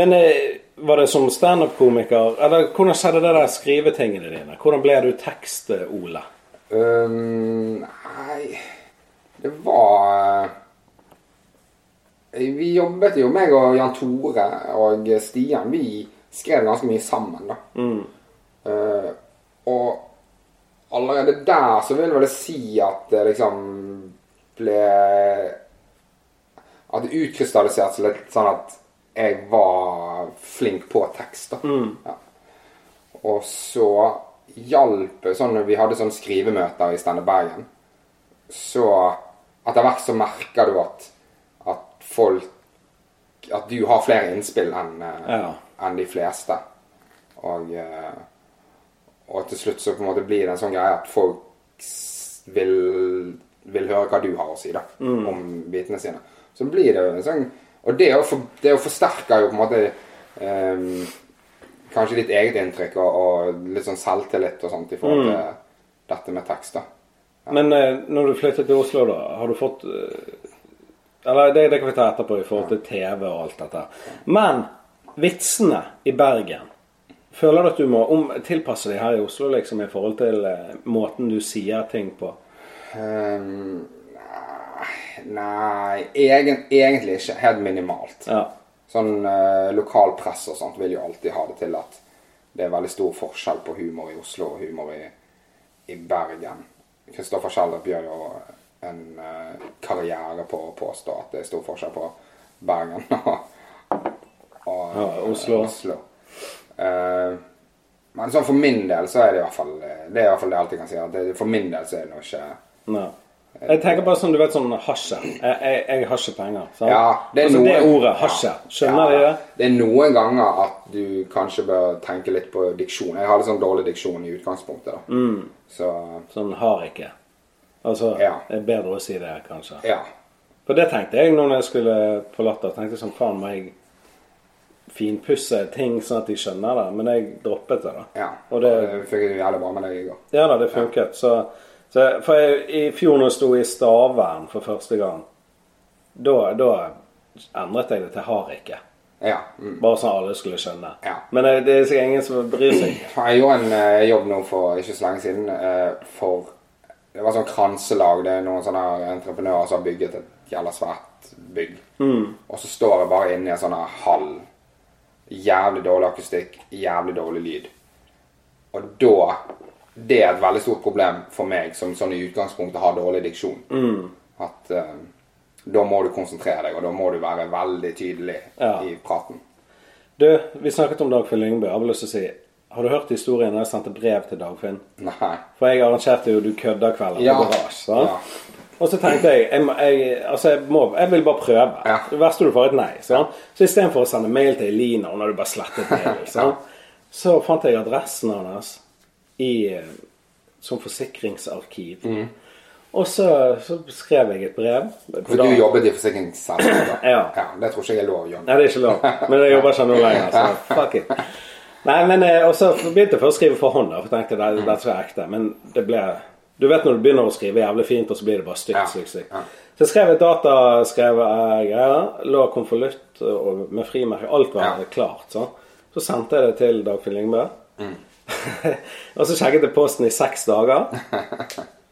Speaker 1: Men eh, var det som standup-komiker Eller hvordan skjedde det der skrivetingene dine? Hvordan ble du eh, tekst-Ole?
Speaker 2: Um, nei Det var eh, Vi jobbet jo, meg og Jan Tore og Stian, vi skrev ganske mye sammen, da. Eh, og allerede der så vil vel jeg si at det liksom ble At det utkrystalliserte seg litt sånn at jeg var flink på tekst, da. Ja. Og så hjalp sånn når vi hadde sånne skrivemøter i Stende Bergen, så etter hvert så merker du at, at folk At du har flere innspill enn eh,
Speaker 1: Ja.
Speaker 2: enn de fleste. Og, eh, og til slutt så på en måte blir det en sånn greie at folk s- vil, vil høre hva du har å si da, om bitene sine. Så blir det jo en sånn Og det, å for, det å forsterker jo på en måte eh, kanskje ditt eget inntrykk og, og litt sånn selvtillit og sånt i forhold til dette med tekst. da.
Speaker 1: Men eh, når du flyttet til Oslo, da, har du fått eh, Eller det, det kan vi ta etterpå i forhold til TV og alt dette. Men vitsene i Bergen Føler du at du må om, tilpasse deg her i Oslo liksom i forhold til eh, måten du sier ting på?
Speaker 2: Ehm, nei, egen, egentlig ikke. Helt minimalt.
Speaker 1: Ja.
Speaker 2: Sånn eh, lokal press og sånt vil jo alltid ha det til at det er veldig stor forskjell på humor i Oslo og humor i, i Bergen. Kristoffer Schjelderup gjør jo en eh, karriere på å påstå at det er stor forskjell på Bergen og, og
Speaker 1: Ja, Oslo.
Speaker 2: Eh, men sånn for min del så er det i hvert fall eh, det er i hvert fall det jeg alltid kan si. at det, For min del så er det nå ikke
Speaker 1: Nei. Jeg tenker bare sånn, du vet sånn hasje. Jeg, jeg, jeg har ikke penger. Sant?
Speaker 2: Ja, det er
Speaker 1: altså,
Speaker 2: noen,
Speaker 1: det ordet, hasje. Skjønner
Speaker 2: ja,
Speaker 1: de det?
Speaker 2: Det er noen ganger at du kanskje bør tenke litt på diksjon. Jeg har litt sånn dårlig diksjon i utgangspunktet, da.
Speaker 1: Mm.
Speaker 2: Så
Speaker 1: Sånn har ikke. Altså,
Speaker 2: Ja.
Speaker 1: det er bedre å si det, kanskje.
Speaker 2: ja.
Speaker 1: For det tenkte jeg når jeg skulle på latter. Tenkte jeg sånn, faen må jeg finpusse ting sånn at de skjønner det. Men jeg droppet det, da.
Speaker 2: ja.
Speaker 1: Og det,
Speaker 2: fikk jeg jævlig bra med deg i går.
Speaker 1: ja da, det funket. Så, så For jeg, i fjor når jeg sto i Stavern for første gang, da, da endret jeg det til har ikke.
Speaker 2: Ja. Mm.
Speaker 1: Bare sånn alle skulle skjønne.
Speaker 2: Ja.
Speaker 1: Men det, det er sikkert ingen som bryr seg.
Speaker 2: Faen, Jeg gjorde en eh, jobb nå for ikke så lenge siden eh, for Det var sånn kranselag. Det er noen sånne entreprenører som har bygget et jævla svært bygg. Og så står jeg bare inne i en sånn her hall. Jævlig dårlig akustikk, jævlig dårlig lyd. Og da Det er et veldig stort problem for meg som sånn i utgangspunktet har dårlig diksjon. At eh, da må du konsentrere deg, og da må du være veldig tydelig
Speaker 1: Ja.
Speaker 2: i praten.
Speaker 1: Du, vi snakket om Dagfinn Lyngbø. Jeg har bare lyst til å si Har du hørt historien da jeg sendte brev til Dagfinn?
Speaker 2: Nei.
Speaker 1: For jeg arrangerte jo Du kødder kvelden
Speaker 2: Ja.
Speaker 1: på Garasje. sant?
Speaker 2: Ja.
Speaker 1: Og så tenkte jeg jeg, må- jeg, altså jeg, må, jeg vil bare prøve.
Speaker 2: Ja.
Speaker 1: Det verste du får, er et nei. Sant? Så istedenfor å sende mail til Elina, hun hadde bare slettet mailen, sant? så fant jeg adressen hans i, eh, som forsikringsarkiv.
Speaker 2: Mm.
Speaker 1: Og så, så skrev jeg et brev.
Speaker 2: For du jobbet i forsikringsselskapet?
Speaker 1: Ja.
Speaker 2: Det tror ikke jeg er lov å gjøre.
Speaker 1: Nei, det er ikke lov. Men jeg jobber ikke nå lenger, så fuck it. Nei, men eh, Og så begynte jeg først å skrive for hånd, da, for jeg tenkte det, dette er ekte. Men det ble Du vet når du begynner å skrive jævlig fint, og så blir det bare stygt.
Speaker 2: Ja,
Speaker 1: stygt, stygt.
Speaker 2: ja.
Speaker 1: Så jeg skrev et data, skrev eh, greier, la konvolutt og- med frimerke. Alt var
Speaker 2: Ja.
Speaker 1: klart. Så. så sendte jeg det til
Speaker 2: Mm.
Speaker 1: Dagfinn Lyngbø. og så sjekket jeg posten i seks dager.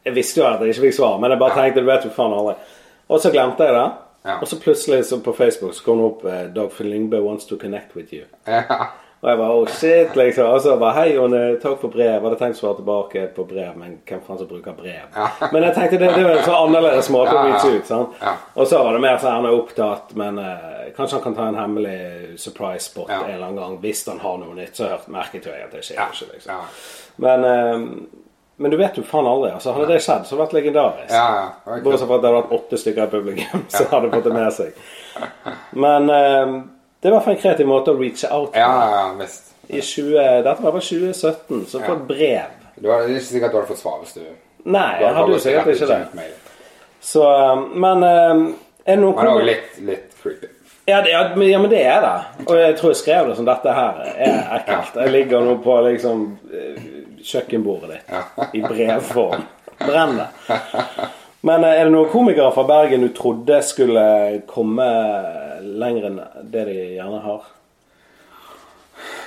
Speaker 1: Jeg visste jo at jeg ikke fikk svar, men jeg bare tenkte du vet jo faen aldri. Og så glemte jeg det.
Speaker 2: Ja.
Speaker 1: Og så plutselig så på Facebook så kom det opp eh, 'Dagfinn Lyngbø wants to connect with you'.
Speaker 2: Ja.
Speaker 1: Og jeg bare oh shit, liksom. Og så bare hei, Jon, eh, takk for brev. Hadde tenkt å svare tilbake på brev, men hvem faen som bruker brev? Men jeg tenkte det, det var en sånn annerledes måte å
Speaker 2: Ja, ja.
Speaker 1: vise ut. sant?
Speaker 2: Ja.
Speaker 1: Og så var det mer sånn han er opptatt, men eh, kanskje han kan ta en hemmelig surprise spot
Speaker 2: Ja.
Speaker 1: en eller annen gang. Hvis han har noe nytt, så hørt, merket jo jeg at det skjer
Speaker 2: Ja.
Speaker 1: ikke, liksom.
Speaker 2: Ja.
Speaker 1: Men, eh, men du vet jo faen aldri. altså Hadde det skjedd, så hadde det vært legendarisk.
Speaker 2: Ja, ja. Det var kult.
Speaker 1: Bortsett fra at det hadde vært åtte stykker i publikum som hadde fått det med seg. Men eh, det er i hvert fall en kreativ måte å reache out på.
Speaker 2: Ja, ja, ja, visst.
Speaker 1: I 20, dette var bare 2017, så på et brev.
Speaker 2: Det var det er ikke sikkert du hadde fått svar hvis du
Speaker 1: Nei, jeg
Speaker 2: du
Speaker 1: hadde
Speaker 2: bare
Speaker 1: jo sikkert
Speaker 2: rett
Speaker 1: ikke
Speaker 2: ut
Speaker 1: det.
Speaker 2: sendt mail.
Speaker 1: Så, um, men um, er det noen
Speaker 2: Men det var
Speaker 1: kom-
Speaker 2: jo litt, litt creepy.
Speaker 1: ja, det- ja, men- ja, men det er det. Og jeg tror jeg skrev det som dette her er ekkelt. Jeg ligger nå på liksom eh, kjøkkenbordet ditt i brevform. Brenn det. Men eh, er det noen komikere fra Bergen du trodde skulle komme lenger enn det de gjerne har?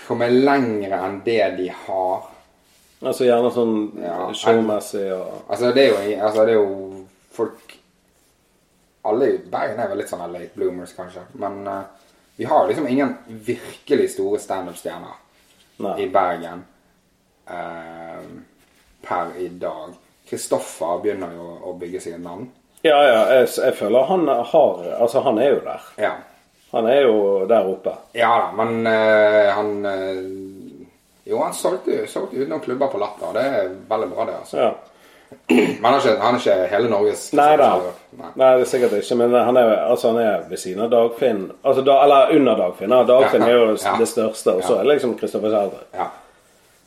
Speaker 2: Kommer lenger enn det de har.
Speaker 1: Altså gjerne sånn
Speaker 2: Ja.
Speaker 1: showmessig og
Speaker 2: Altså, det er jo, altså, det er jo folk Alle i Bergen er vel litt sånne late bloomers, kanskje. Men eh, vi har jo liksom ingen virkelig store standup-stjerner
Speaker 1: Nei.
Speaker 2: i Bergen eh, per i dag. Kristoffer begynner jo å bygge seg et navn.
Speaker 1: Ja, ja, jeg, jeg føler han har Altså, han er jo der.
Speaker 2: Ja.
Speaker 1: Han er jo der oppe.
Speaker 2: ja da, men eh, han eh, Jo, han solgte, jo- solgte jo ut noen klubber på Latter, og det er veldig bra, det. altså.
Speaker 1: Ja.
Speaker 2: Men han er ikke, han er ikke hele Norges
Speaker 1: Nei da.
Speaker 2: Nei.
Speaker 1: Nei, det er sikkert ikke, men han er, altså, han er ved siden av Dagfinn. Altså, da, eller under Dagfinn. Ja, Dagfinn er jo
Speaker 2: Ja.
Speaker 1: det største, og så er det liksom Kristoffer Kjeldrup,
Speaker 2: Ja.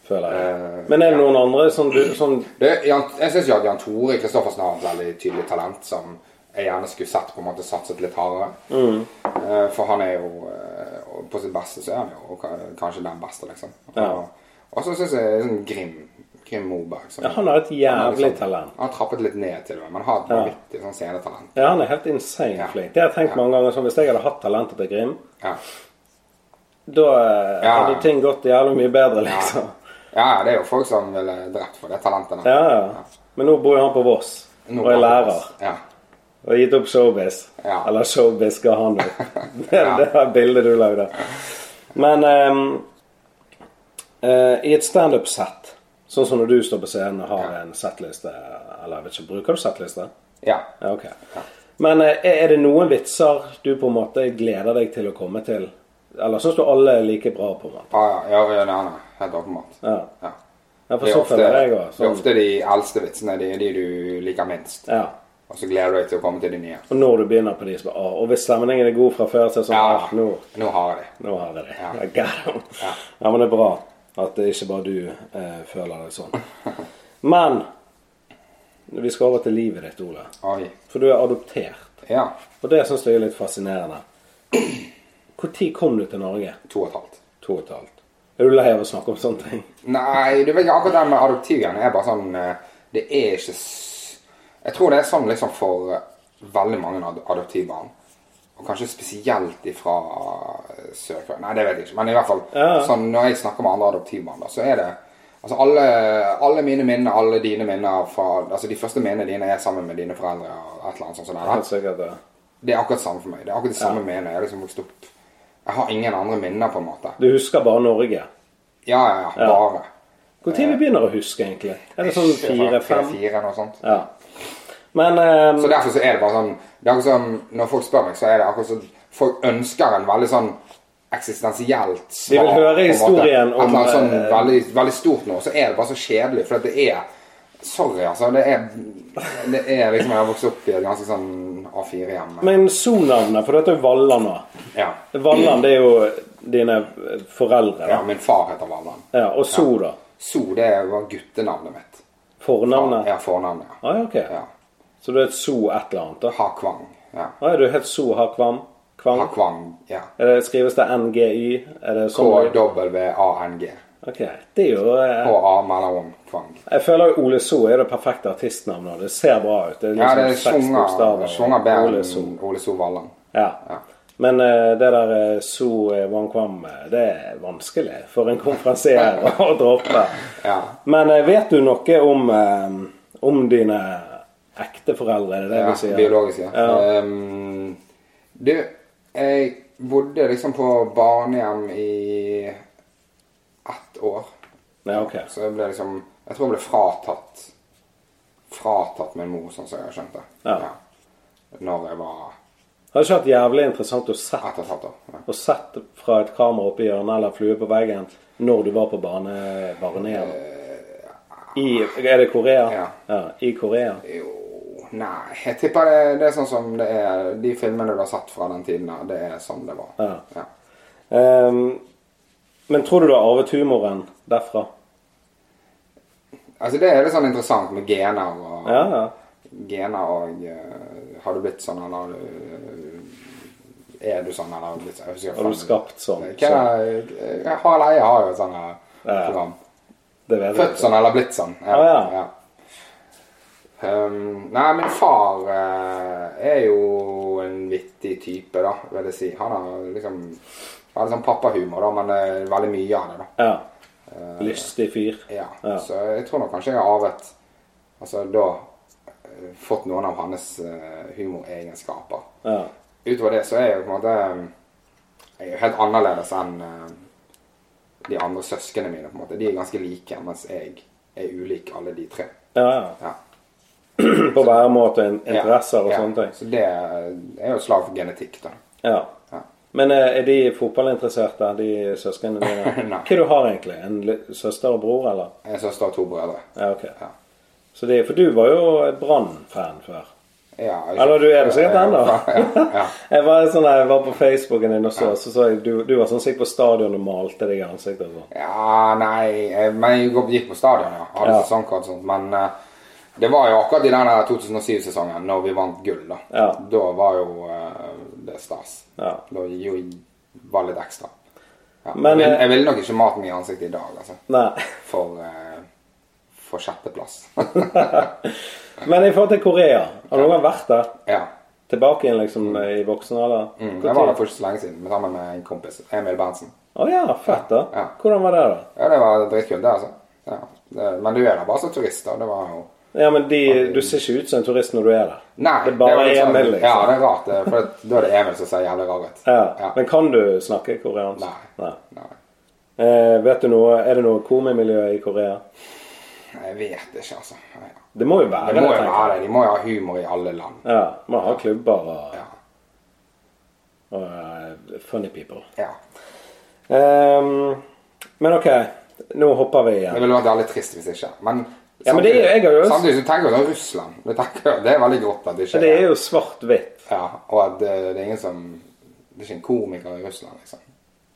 Speaker 1: føler jeg.
Speaker 2: Eh,
Speaker 1: Men er det noen andre som du som,
Speaker 2: Det, Jan, jeg syns at Jan Tore Kristoffersen har et veldig tydelig talent som jeg gjerne skulle sett på en måte satset litt hardere.
Speaker 1: Mm.
Speaker 2: Eh, For han er jo eh, og På sitt beste så er han jo ka- kanskje den beste, liksom.
Speaker 1: Ja.
Speaker 2: Og, og så syns jeg sånn Grim Grim Moberg som,
Speaker 1: Ja, han har et
Speaker 2: han er
Speaker 1: jævlig
Speaker 2: liksom-
Speaker 1: talent.
Speaker 2: Han har trappet litt ned til det, men har et vanvittig sånn scenetalent.
Speaker 1: Ja, han er helt insane
Speaker 2: Ja.
Speaker 1: flink. Det har jeg tenkt
Speaker 2: Ja.
Speaker 1: mange ganger. sånn, Hvis jeg hadde hatt talentet til Grim,
Speaker 2: Ja.
Speaker 1: da eh,
Speaker 2: Ja.
Speaker 1: hadde ting gått jævlig mye bedre, liksom.
Speaker 2: ja, det er jo folk som ville drept for det talentet. der.
Speaker 1: Ja, ja. Men nå bor jo han på Voss,
Speaker 2: Nå
Speaker 1: og er
Speaker 2: bare-
Speaker 1: lærer.
Speaker 2: Ja.
Speaker 1: Og gitt opp showbiz.
Speaker 2: Ja.
Speaker 1: Eller showbiz skal han opp. Det,
Speaker 2: Ja.
Speaker 1: det var bildet du lagde. Men ehm, eh, i et standup-sett, sånn som når du står på scenen og har
Speaker 2: Ja.
Speaker 1: en settliste Eller jeg vet ikke, bruker du settliste?
Speaker 2: ja.
Speaker 1: Ja, ok. Men eh, er det noen vitser du på en måte gleder deg til å komme til? Eller syns du alle er like bra, på en måte?
Speaker 2: Ah, ja, ja, ja, nei, nei. Helt åpenbart.
Speaker 1: Ja.
Speaker 2: Ja.
Speaker 1: Ja, for
Speaker 2: Det er
Speaker 1: så
Speaker 2: ofte-
Speaker 1: føler jeg
Speaker 2: Det er
Speaker 1: òg.
Speaker 2: ofte de eldste vitsene, de, de du liker minst.
Speaker 1: Ja.
Speaker 2: Og så gleder du deg til å komme til de nye.
Speaker 1: Og når du begynner på de som ah, Og hvis stemningen er god fra før, så er det sånn ah, nå
Speaker 2: nå har jeg det.
Speaker 1: Nå har vi det.
Speaker 2: Ja.
Speaker 1: I got him.
Speaker 2: Ja.
Speaker 1: Ja, men det er bra at det ikke bare du eh, føler det sånn. Men vi skal over til livet ditt, Ole.
Speaker 2: Oi.
Speaker 1: For du er adoptert.
Speaker 2: Ja.
Speaker 1: Og det syns jeg er litt fascinerende. Når kom du til Norge?
Speaker 2: To og et halvt.
Speaker 1: To og et halvt. Er du lei av å snakke om sånne ting?
Speaker 2: Nei, du vet ikke akkurat det med adoptivgreiene. er bare sånn eh, Det er ikke s- Jeg tror det er sånn liksom for eh, veldig mange ad- adoptivbarn. Og kanskje spesielt ifra eh, Sør-Korea. Nei, det vet jeg ikke. Men i hvert fall
Speaker 1: Ja.
Speaker 2: sånn, når jeg snakker med andre adoptivbarn, da, så er det Altså alle, alle mine minner, alle dine minner fra Altså de første minnene dine er sammen med dine foreldre og et eller annet sånt. som det der.
Speaker 1: Helt sikkert det.
Speaker 2: Det er akkurat samme for meg. Det er akkurat det samme med når jeg har liksom vokst opp. Jeg har ingen andre minner, på en måte.
Speaker 1: Du husker bare Norge.
Speaker 2: Ja, ja, ja. Bare.
Speaker 1: Når
Speaker 2: Eh.
Speaker 1: vi begynner å huske, egentlig? Er det sånn fire-fem?
Speaker 2: Fire, noe sånt.
Speaker 1: Ja. Men eh,
Speaker 2: Så derfor så er det bare sånn Det er akkurat som Når folk spør meg, så er det akkurat som Folk ønsker en veldig sånn eksistensielt svar.
Speaker 1: vil høre
Speaker 2: på en måte.
Speaker 1: historien om,
Speaker 2: Et eller annet sånn
Speaker 1: eh,
Speaker 2: veldig, veldig stort noe. Så er det bare så kjedelig, for at det er Sorry, altså. Det er, det er liksom Jeg har vokst opp i et ganske sånn A4-hjem.
Speaker 1: Men sonavnet, for dette er Valla nå.
Speaker 2: Ja.
Speaker 1: Valland, det er jo dine foreldre.
Speaker 2: ja.
Speaker 1: Da.
Speaker 2: Min far heter Valland.
Speaker 1: Ja, og So, da.
Speaker 2: So, det var guttenavnet mitt.
Speaker 1: Fornavnet.
Speaker 2: Ja, fornavnet.
Speaker 1: Ah, ja, ok.
Speaker 2: Ja.
Speaker 1: Så du er et So et eller annet, da?
Speaker 2: Hakvang. Ja.
Speaker 1: Ah, er du helt So Hakvam? Kvam?
Speaker 2: Hakvang, ja.
Speaker 1: Er det, skrives det NGY? Er det sånn?
Speaker 2: K-W-A-N-G.
Speaker 1: Ok, det er jo eh,
Speaker 2: K-A mellom kvang.
Speaker 1: Jeg føler jo Ole So er det perfekte artistnavnet. og Det ser bra ut. Det er
Speaker 2: Ja,
Speaker 1: liksom
Speaker 2: det
Speaker 1: seks
Speaker 2: sjunger,
Speaker 1: bokstaver.
Speaker 2: sjunger bedre
Speaker 1: Ole So.
Speaker 2: enn Ole So Valland.
Speaker 1: Ja.
Speaker 2: Ja.
Speaker 1: Men eh, det der eh, So eh, Wang Kvam, eh, det er vanskelig for en konferansier å droppe.
Speaker 2: Ja.
Speaker 1: Men eh, vet du noe om, eh, Om dine ekte foreldre, er det det
Speaker 2: Ja,
Speaker 1: du sier?
Speaker 2: biologisk, ja.
Speaker 1: ja.
Speaker 2: Ehm, du, jeg bodde liksom på barnehjem i ett år.
Speaker 1: ja ok.
Speaker 2: Så jeg ble liksom Jeg tror jeg ble fratatt Fratatt min mor, sånn som jeg har skjønt det.
Speaker 1: Ja.
Speaker 2: Når jeg var
Speaker 1: Hadde ikke vært jævlig interessant å sett
Speaker 2: ett og et halvt år. Ja.
Speaker 1: og sett fra et kamera oppe i hjørnet eller flue på veggen når du var på bane, barnehjem? I, er det Korea?
Speaker 2: Eh, Ja.
Speaker 1: I Korea.
Speaker 2: Jo Nei, jeg tipper det, det er sånn som det er De filmene du har sett fra den tiden, da, det er sånn det var.
Speaker 1: Ja.
Speaker 2: Ja.
Speaker 1: Ehm, men tror du du har arvet humoren derfra?
Speaker 2: Altså, det er litt sånn interessant med gener og
Speaker 1: Ja, ja.
Speaker 2: gener og eh, Har du blitt sånn, eller eh, Er du sånn, eller har du blitt sånn? Jeg husker
Speaker 1: Har du
Speaker 2: faen-
Speaker 1: skapt sånn?
Speaker 2: Hva er det? Eh, Harald Eie har jo et sånt eh,
Speaker 1: Ja.
Speaker 2: program.
Speaker 1: Det vet jeg
Speaker 2: Født sånn eller blitt sånn.
Speaker 1: Ah, ja.
Speaker 2: Um, nei, min far eh, er jo en vittig type, da, vil jeg si. Han har liksom han har litt sånn pappahumor, da, men det er veldig mye av det, da.
Speaker 1: Ja.
Speaker 2: Eh,
Speaker 1: Lystig fyr.
Speaker 2: Ja.
Speaker 1: Ja.
Speaker 2: Så jeg tror nok kanskje jeg har arvet Altså da eh, fått noen av hans eh, humoregenskaper.
Speaker 1: Ja.
Speaker 2: Utover det så er jeg jo på en måte um, Jeg er jo helt annerledes enn uh, de andre søsknene mine. på en måte. De er ganske like, mens jeg er ulik alle de tre.
Speaker 1: ja, ja.
Speaker 2: Ja.
Speaker 1: På væremåte, in-
Speaker 2: Ja.
Speaker 1: interesser og
Speaker 2: Ja.
Speaker 1: sånne ting.
Speaker 2: Så det er jo et slag for genetikk, da.
Speaker 1: Ja.
Speaker 2: Ja.
Speaker 1: Men eh, er de fotballinteresserte, de søsknene dine?
Speaker 2: Nei.
Speaker 1: Hva du har egentlig? En li- søster og bror, eller?
Speaker 2: Jeg er søster og to brødre.
Speaker 1: Ja, ok.
Speaker 2: Ja.
Speaker 1: Så det, for du var jo Brann-fan før.
Speaker 2: Ja, jeg-
Speaker 1: Eller du er det sikkert
Speaker 2: Ja,
Speaker 1: ennå.
Speaker 2: Ja, ja.
Speaker 1: Jeg var, sånn, jeg var på Facebooken din og så, så så jeg du, du var sånn som gikk på stadion og malte deg i ansiktet og sånn.
Speaker 2: Ja, nei eh, Men jeg gikk- gikk på stadion, ja. Hadde
Speaker 1: Ja.
Speaker 2: sesongkort og sånt. Men eh, det var jo akkurat i den 2007-sesongen, når vi vant gull, da.
Speaker 1: Ja.
Speaker 2: Da var jo eh, det stas.
Speaker 1: Ja.
Speaker 2: Da jo, var det litt ekstra. Ja.
Speaker 1: Men,
Speaker 2: jeg, vil,
Speaker 1: eh,
Speaker 2: jeg ville nok ikke malt meg i ansiktet i dag, altså.
Speaker 1: Nei.
Speaker 2: For, eh, for sjetteplass.
Speaker 1: Men i forhold til Korea, har du noen gang vært der?
Speaker 2: ja.
Speaker 1: Tilbake igjen liksom i voksen alder?
Speaker 2: Mm,
Speaker 1: Hvor
Speaker 2: jeg var
Speaker 1: tid?
Speaker 2: der for ikke så lenge siden sammen med en kompis. Emil Berntsen.
Speaker 1: Å ja, fett da.
Speaker 2: Ja.
Speaker 1: Hvordan var det da?
Speaker 2: Ja, det var dritkult, det, altså. Ja. Det, men du er der bare som turist, da. Det var jo
Speaker 1: Ja, men de, du ser ikke ut som en turist når du er der.
Speaker 2: Nei.
Speaker 1: det er bare
Speaker 2: litt sånn-
Speaker 1: Emil,
Speaker 2: Ja,
Speaker 1: liksom.
Speaker 2: det er rart. det- For det, da er det Emil som ser jævlig rar ut.
Speaker 1: Ja.
Speaker 2: Ja.
Speaker 1: Men kan du snakke koreansk?
Speaker 2: Nei. Nei.
Speaker 1: Eh, vet du noe, Er det noe komimiljø i Korea?
Speaker 2: Jeg vet ikke, altså. Nei.
Speaker 1: Det må jo være
Speaker 2: Det må jo
Speaker 1: tenker jeg.
Speaker 2: være det. De må jo ha humor i alle land.
Speaker 1: Ja, Man har klubber og,
Speaker 2: Ja.
Speaker 1: og eh, funny people.
Speaker 2: ja.
Speaker 1: Ehm, men ok, nå hopper vi
Speaker 2: Det
Speaker 1: igjen.
Speaker 2: ville vært veldig trist hvis ikke. Men,
Speaker 1: Ja, men det er jo- jeg har jo-
Speaker 2: samtidig så tenker du sånn Russland. Du tenker, det er veldig grått at det ikke
Speaker 1: Det er jo svart-hvitt.
Speaker 2: ja, Og at det, det er ingen som Det er ikke en komiker i Russland, liksom.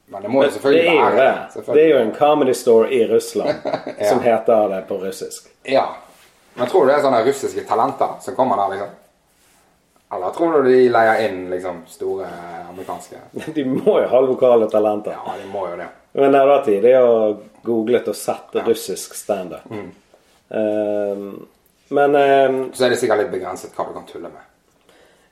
Speaker 2: Men det må jo
Speaker 1: Det
Speaker 2: selvfølgelig
Speaker 1: er jo
Speaker 2: være
Speaker 1: det. Det
Speaker 2: Selvfølgelig.
Speaker 1: er jo en comedy store i Russland som heter det på russisk.
Speaker 2: Ja. Men tror du det er sånne russiske talenter som kommer der, liksom? Eller tror du de leier inn liksom store amerikanske
Speaker 1: De må jo ha lokale talenter.
Speaker 2: Ja, de må jo det.
Speaker 1: Men det var tidlig å googlet og sett russisk standup.
Speaker 2: Mm.
Speaker 1: Ehm, men ehm,
Speaker 2: Så er det sikkert litt begrenset hva du kan tulle med.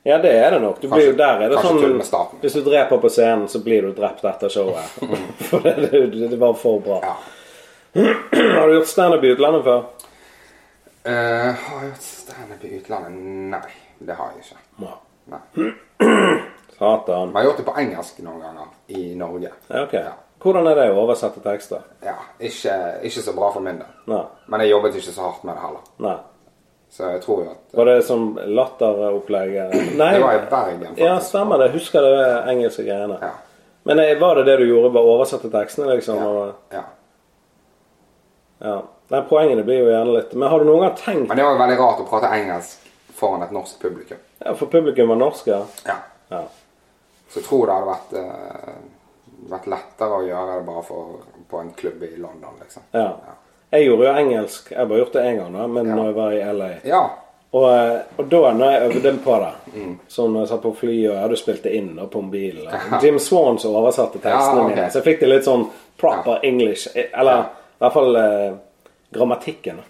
Speaker 1: Ja, det er det nok. Du blir jo
Speaker 2: Kanskje-
Speaker 1: der er det
Speaker 2: kanskje tull
Speaker 1: sånn
Speaker 2: med staten. Mm.
Speaker 1: Hvis du dreper på scenen, så blir du drept etter showet. For det, det, det var for bra.
Speaker 2: Ja.
Speaker 1: Har du gjort standup i utlandet før?
Speaker 2: Eh, har jeg gjort standup i utlandet? Nei, det har jeg ikke. Nei.
Speaker 1: Satan.
Speaker 2: Vi har gjort det på engelsk noen ganger i Norge.
Speaker 1: Ja, Ok.
Speaker 2: Ja.
Speaker 1: Hvordan er det å oversette tekster?
Speaker 2: ja ikke, ikke så bra for min del.
Speaker 1: Nei.
Speaker 2: Men jeg jobbet ikke så hardt med det heller.
Speaker 1: Nei.
Speaker 2: Så jeg tror jo at
Speaker 1: Var det som latteropplegg? Nei.
Speaker 2: Det var i Bergen, faktisk.
Speaker 1: Ja, stemmer det. Husker det engelske greiene.
Speaker 2: Ja.
Speaker 1: Men eh, var det det du gjorde? Bare oversette tekstene, liksom?
Speaker 2: ja,
Speaker 1: Og,
Speaker 2: ja.
Speaker 1: ja. Nei, poengene blir jo gjerne litt Men har du noen gang tenkt
Speaker 2: Men det var jo veldig rart å prate engelsk foran et norsk publikum.
Speaker 1: ja, For publikum var norsk, ja.
Speaker 2: Ja.
Speaker 1: ja.
Speaker 2: Så jeg tror det hadde vært, eh, vært lettere å gjøre det bare for, på en klubb i London, liksom.
Speaker 1: Ja. Jeg gjorde jo engelsk. Jeg har bare gjort det én gang, da, men
Speaker 2: Ja.
Speaker 1: når jeg var i LA.
Speaker 2: Ja.
Speaker 1: Og, eh, og da når jeg øvde på det,
Speaker 2: Mm.
Speaker 1: som når jeg satt på fly og jeg hadde spilt det inn da, på mobilen og Jim Swans oversatte tekstene
Speaker 2: Ja, ok.
Speaker 1: mine, så jeg fikk det litt sånn proper English. eh, Eller
Speaker 2: Ja.
Speaker 1: i hvert fall eh, grammatikken.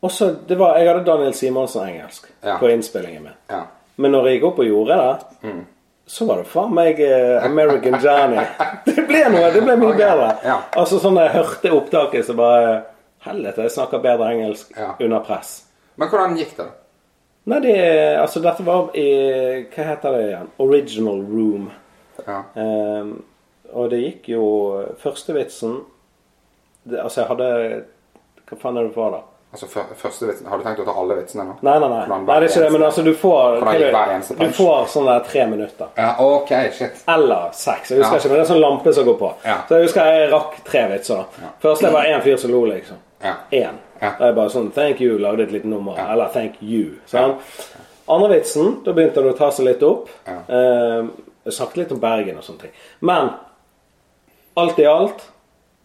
Speaker 1: Og så det var, Jeg hadde Daniel Simonsen engelsk
Speaker 2: Ja.
Speaker 1: på innspillingen min.
Speaker 2: Ja.
Speaker 1: Men når jeg gikk opp og gjorde det,
Speaker 2: Mm.
Speaker 1: så var det faen meg eh, American Johnny. Det ble noe, det ble mye
Speaker 2: Ok,
Speaker 1: bedre.
Speaker 2: ja.
Speaker 1: Altså sånn da jeg hørte opptaket, så bare Helvete, jeg snakker bedre engelsk
Speaker 2: Ja.
Speaker 1: under press.
Speaker 2: Men hvordan gikk det? da?
Speaker 1: Nei, det, altså dette var i Hva heter det igjen? Original Room.
Speaker 2: Ja.
Speaker 1: Eh, og det gikk jo Første vitsen det, Altså, jeg hadde Hva faen er det for da?
Speaker 2: Altså, før- første vitsen, Har du tenkt å ta alle vitsene nå?
Speaker 1: Nei, nei, nei.
Speaker 2: Hvordan
Speaker 1: nei
Speaker 2: hver
Speaker 1: det er ikke det,
Speaker 2: eneste-
Speaker 1: men altså, du får
Speaker 2: Hvordan gikk hver eneste
Speaker 1: Du
Speaker 2: punch?
Speaker 1: får sånn der tre minutter.
Speaker 2: Ja, OK, shit.
Speaker 1: Eller seks. Jeg husker
Speaker 2: Ja.
Speaker 1: ikke, men det er sånn lampe som går på.
Speaker 2: Ja.
Speaker 1: Så jeg husker jeg rakk tre vitser. da.
Speaker 2: Ja.
Speaker 1: Først det var én fyr som lo, liksom.
Speaker 2: Ja.
Speaker 1: Én.
Speaker 2: Ja.
Speaker 1: Da er jeg bare sånn Thank you, lagde et lite nummer. Eller thank you. Sånn. Andre vitsen, da begynte det å ta seg litt opp.
Speaker 2: Ja.
Speaker 1: Eh, jeg snakket litt om Bergen og sånne ting. Men alt i alt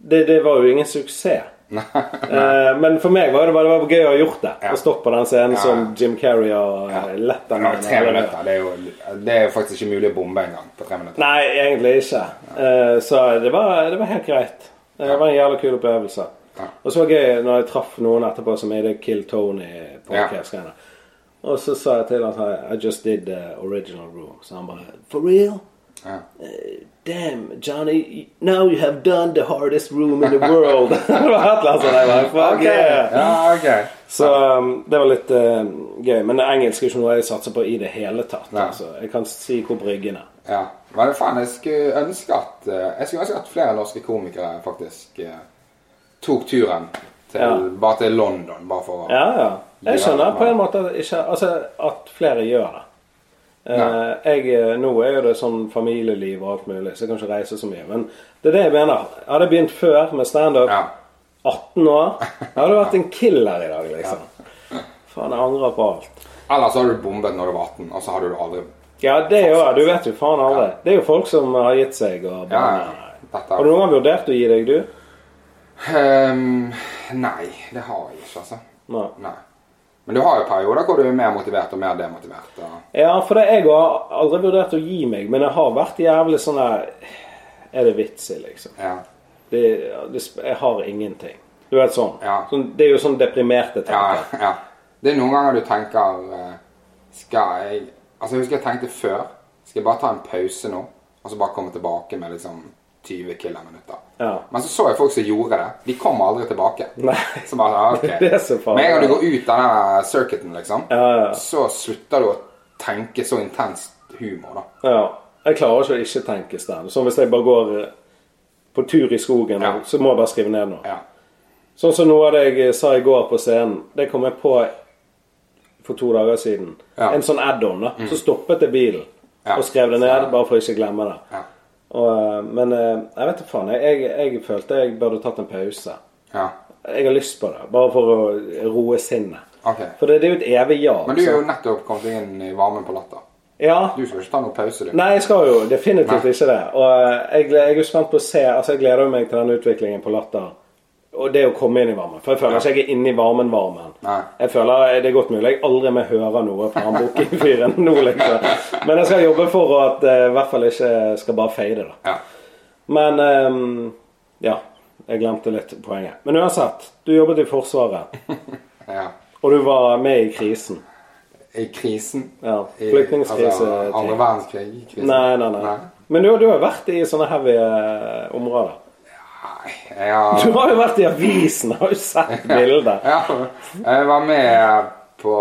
Speaker 1: det, det var jo ingen suksess. Eh, men for meg var det bare det var gøy å ha gjort det.
Speaker 2: Ja.
Speaker 1: Å stått på den scenen
Speaker 2: Ja.
Speaker 1: som Jim Carrey og ja.
Speaker 2: Men
Speaker 1: Letterman.
Speaker 2: tre
Speaker 1: eller-
Speaker 2: minutter, det er jo det er jo faktisk ikke mulig å bombe engang på tre minutter.
Speaker 1: Nei, egentlig ikke. Eh, så det var, det var helt greit. Eh, Det var en jævla kul opplevelse.
Speaker 2: Ja.
Speaker 1: Og så var det gøy når jeg traff noen etterpå som er i det Kill Tony-podcast-greiene. Og så sa jeg til han I just did the original room. Så han bare For real?
Speaker 2: Ja.
Speaker 1: Damn, Johnny, now you have done the hardest room in the world. det var et eller annet sånt. Jeg bare, fuck
Speaker 2: Ok,
Speaker 1: yeah.
Speaker 2: Ja, ok.
Speaker 1: Så um, det var litt eh, gøy. Men engelsk er ikke noe jeg satser på i det hele tatt.
Speaker 2: Nei.
Speaker 1: Altså. Jeg kan si hvor Bryggen er.
Speaker 2: Ja. Men det faen, jeg skulle ønske at eh, Jeg skulle ønske at flere norske komikere faktisk eh, tok turen til,
Speaker 1: Ja.
Speaker 2: bare til London, bare for å
Speaker 1: Ja, ja. Jeg
Speaker 2: Ja,
Speaker 1: skjønner på
Speaker 2: ja.
Speaker 1: en måte at ikke, altså, at flere gjør det. Eh,
Speaker 2: Nei.
Speaker 1: jeg, eh, nå er jo det sånn familieliv og alt mulig, så jeg kan ikke reise så mye. Men det er det jeg mener. Hadde jeg begynt før med standup,
Speaker 2: Ja.
Speaker 1: 18 år, jeg hadde vært en killer i dag, liksom. Faen, jeg angrer på alt.
Speaker 2: Eller så har du bombet når du var 18, og så hadde du aldri
Speaker 1: Ja, det er jo Du vet jo faen aldri. Det er jo folk som har gitt seg og
Speaker 2: Ja,
Speaker 1: bare
Speaker 2: ja. Dette er-
Speaker 1: Har du noen gang vurdert å gi deg, du?
Speaker 2: Ehm, Nei, det har jeg ikke, altså.
Speaker 1: Nei.
Speaker 2: Nei. Men du har jo perioder hvor du er mer motivert og mer demotivert. Og...
Speaker 1: Ja, for det, jeg har aldri vurdert å gi meg, men jeg har vært jævlig sånn der Er det vits i, liksom?
Speaker 2: Ja.
Speaker 1: Det, det, sp- jeg har ingenting. Du vet sånn.
Speaker 2: Ja.
Speaker 1: sånn det er jo sånn deprimerte
Speaker 2: Ja,
Speaker 1: tanker.
Speaker 2: ja. Det er noen ganger du tenker eh, Skal jeg Altså, jeg husker jeg tenkte før Skal jeg bare ta en pause nå, og så bare komme tilbake med liksom 20 killer-minutter.
Speaker 1: Ja.
Speaker 2: Men så så jeg folk som gjorde det. De kom aldri tilbake.
Speaker 1: Nei.
Speaker 2: Så bare, ja, ok.
Speaker 1: Det er så farlig.
Speaker 2: Med en gang du går ut av den circuiten, liksom,
Speaker 1: Ja, ja.
Speaker 2: så slutter du å tenke så intenst humor, da.
Speaker 1: Ja. Jeg klarer ikke å ikke tenke stand. Sånn hvis jeg bare går eh, på tur i skogen,
Speaker 2: Ja.
Speaker 1: så må jeg bare skrive ned noe.
Speaker 2: Ja.
Speaker 1: Sånn som noe av det jeg sa i går på scenen, det kom jeg på for to dager siden.
Speaker 2: Ja. Mm.
Speaker 1: En sånn add-on. da. Så stoppet jeg bilen
Speaker 2: Ja.
Speaker 1: og skrev det ned, bare for å ikke glemme det.
Speaker 2: Ja.
Speaker 1: Og, men eh, jeg vet da faen. Jeg, jeg, jeg følte jeg burde tatt en pause.
Speaker 2: ja.
Speaker 1: Jeg har lyst på det, bare for å roe sinnet.
Speaker 2: Ok.
Speaker 1: For det, det er jo et evig ja.
Speaker 2: Men du er
Speaker 1: så-
Speaker 2: jo nettopp kommet inn i varmen på latter.
Speaker 1: ja.
Speaker 2: Du skal ikke ta noen pause, du.
Speaker 1: Nei, jeg skal jo definitivt
Speaker 2: Nei.
Speaker 1: ikke det. Og eh, jeg, gle- jeg er jo spent på å se Altså, jeg gleder meg til den utviklingen på Latter. Og det å komme inn i varmen. For jeg føler
Speaker 2: Ja.
Speaker 1: ikke jeg er inne i varmen-varmen.
Speaker 2: Nei.
Speaker 1: Jeg føler Det er godt mulig jeg aldri mer hører noe fra han booking-fyren nå, liksom. Men jeg skal jobbe for at eh, i hvert fall ikke skal bare fade, da.
Speaker 2: Ja.
Speaker 1: Men ehm, ja, jeg glemte litt poenget. Men uansett, du jobbet i Forsvaret,
Speaker 2: ja.
Speaker 1: og du var med i krisen.
Speaker 2: I krisen.
Speaker 1: Ja,
Speaker 2: I-
Speaker 1: flyktningkrise-
Speaker 2: Altså, andre verdenskrig. Krisen.
Speaker 1: Nei, nei, nei. Men du, du har vært i sånne heavy eh, områder.
Speaker 2: Nei, jeg har...
Speaker 1: Du har jo vært i avisen, har jo sett bilder.
Speaker 2: Ja, jeg var med på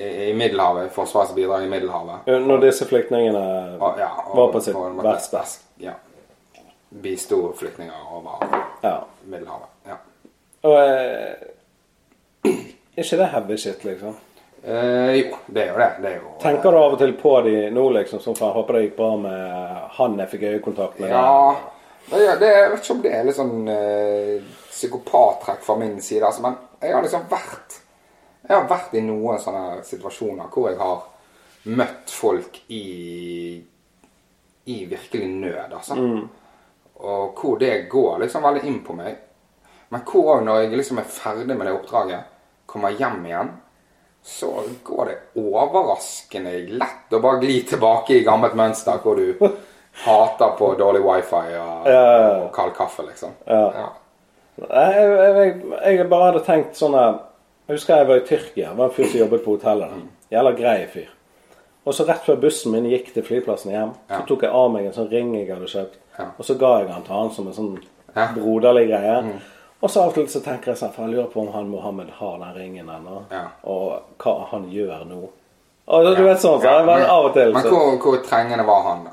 Speaker 2: eh, i Middelhavet, Forsvarets bidrag i Middelhavet.
Speaker 1: Eh, Når disse flyktningene
Speaker 2: Og, Ah, ja, og,
Speaker 1: var på sitt
Speaker 2: og-
Speaker 1: verste.
Speaker 2: Ja. Bisto flyktninger over
Speaker 1: Ja.
Speaker 2: Middelhavet. Ja.
Speaker 1: Og eh, er ikke det heavy shit, liksom?
Speaker 2: Eh, jo, det er jo det. det er jo,
Speaker 1: Tenker du av og til på de nå, liksom? Som faen, håper det gikk bra med han jeg fikk øyekontakt med.
Speaker 2: Ja, det, er- det, er- jeg vet ikke om det er litt sånn eh, psykopattrekk fra min side, altså, men jeg har liksom vært Jeg har vært i noen sånne situasjoner hvor jeg har møtt folk i i virkelig nød, altså. Og hvor det går liksom veldig inn på meg. Men hvor også når jeg liksom er ferdig med det oppdraget, kommer hjem igjen, så går det overraskende lett å bare gli tilbake i gammelt mønster hvor du hater på dårlig wifi og, og kald kaffe, liksom. Ja.
Speaker 1: Nei, Jeg, jeg, jeg, jeg bare hadde tenkt sånn her Jeg husker jeg var i Tyrkia. Det var en fyr som jobbet på hotellet. der. Jævla grei fyr. Og så rett før bussen min gikk til flyplassen hjem, så
Speaker 2: Ja.
Speaker 1: tok jeg av meg en sånn ring jeg hadde kjøpt,
Speaker 2: Ja.
Speaker 1: og så ga jeg den til han som en sånn
Speaker 2: Ja. Mm.
Speaker 1: broderlig greie. Og så av og til så tenker jeg sånn, for jeg lurer på om han Mohammed har den ringen ennå.
Speaker 2: Ja.
Speaker 1: Og hva han gjør nå. Og du vet sånn, så
Speaker 2: Ja,
Speaker 1: jeg var
Speaker 2: men-
Speaker 1: av og til
Speaker 2: Men
Speaker 1: så-
Speaker 2: hvor, hvor trengende var han, da?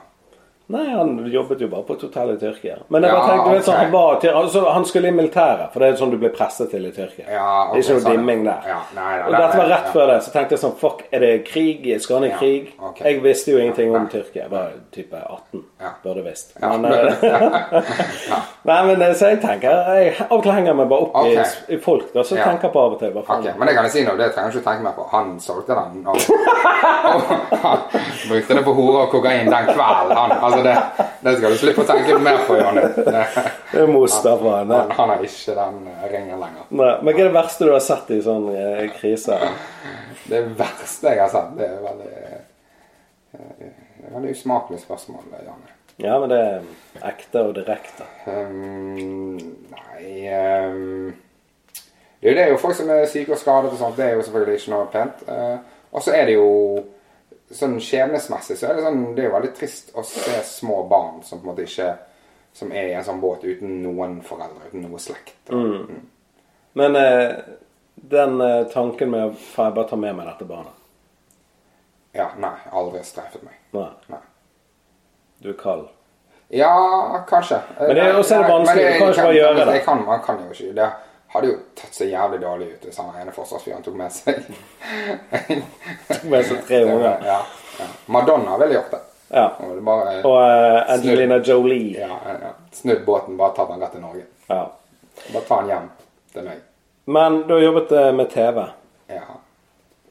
Speaker 1: Nei, han jobbet jo bare på et hotell i Tyrkia. Men jeg bare
Speaker 2: Ja,
Speaker 1: tenkte, du vet sånn,
Speaker 2: ok.
Speaker 1: han, var, til- altså, han skulle i militæret, for det er sånn du blir presset til i Tyrkia.
Speaker 2: Ja, ok,
Speaker 1: det er ikke noe
Speaker 2: sånn, ja.
Speaker 1: dimming der.
Speaker 2: Ja, nei, nei,
Speaker 1: og
Speaker 2: nei,
Speaker 1: dette var
Speaker 2: nei,
Speaker 1: rett
Speaker 2: ja.
Speaker 1: før det, så tenkte jeg sånn Fuck, er det krig? Skal han i
Speaker 2: Ja,
Speaker 1: krig?
Speaker 2: ok.
Speaker 1: Jeg visste jo ingenting om
Speaker 2: Nei.
Speaker 1: Tyrkia. Jeg var type 18.
Speaker 2: Ja.
Speaker 1: Burde visst.
Speaker 2: Ja.
Speaker 1: Men, eh, Nei, men eh, så jeg tenker Jeg av og til henger meg bare opp i-
Speaker 2: Ok.
Speaker 1: i, folk, da, så
Speaker 2: Ja.
Speaker 1: tenker jeg på av og til. Hva faen?
Speaker 2: Ok, Men det kan jeg si nå, det trenger jeg ikke tenke mer på. Han solgte den. Og, og han brukte det på hore og kokain den kvelden. Han, altså det, det skal du slippe å tenke mer på, Jonny. Det-
Speaker 1: Det er Mustafa. nei.
Speaker 2: Han, han har ikke den eh, ringen lenger.
Speaker 1: Nei, men hva er det verste du har sett i sånn eh, krise?
Speaker 2: Det verste jeg har sett, det er veldig eh, det er veldig usmakelig spørsmål, Janne.
Speaker 1: Ja, men det er ekte og direkte.
Speaker 2: Um, nei ehm, det, er jo, det er jo folk som er syke og skadet og sånt. Det er jo selvfølgelig ikke noe pent. Eh, og så er det jo sånn skjebnesmessig så er det sånn Det er jo veldig trist å se små barn som på en måte ikke Som er i en sånn båt uten noen foreldre, uten noe slekt. Mm.
Speaker 1: Men eh, den eh, tanken med å faen, jeg bare ta med meg dette barnet
Speaker 2: Ja, nei. Aldri streifet meg.
Speaker 1: Nei,
Speaker 2: Nei.
Speaker 1: du er kald.
Speaker 2: Ja, kanskje.
Speaker 1: Men det er jo også det
Speaker 2: Nei,
Speaker 1: vanskelige, du
Speaker 2: men det-
Speaker 1: kan jo ikke bare gjøre det.
Speaker 2: Jeg kan, man kan jo ikke. Det hadde jo tatt seg jævlig dårlig ut hvis han ene forsvarsfyren tok med seg
Speaker 1: Med så tre unger.
Speaker 2: Ja, ja. Madonna ville gjort det.
Speaker 1: Ja.
Speaker 2: Hun ville bare
Speaker 1: Og eh, Angelina Jolie.
Speaker 2: ja, ja, ja. snudd båten, bare tatt den rett til Norge.
Speaker 1: Ja.
Speaker 2: Bare ta den hjem til meg.
Speaker 1: Men du har jobbet eh, med TV.
Speaker 2: Ja.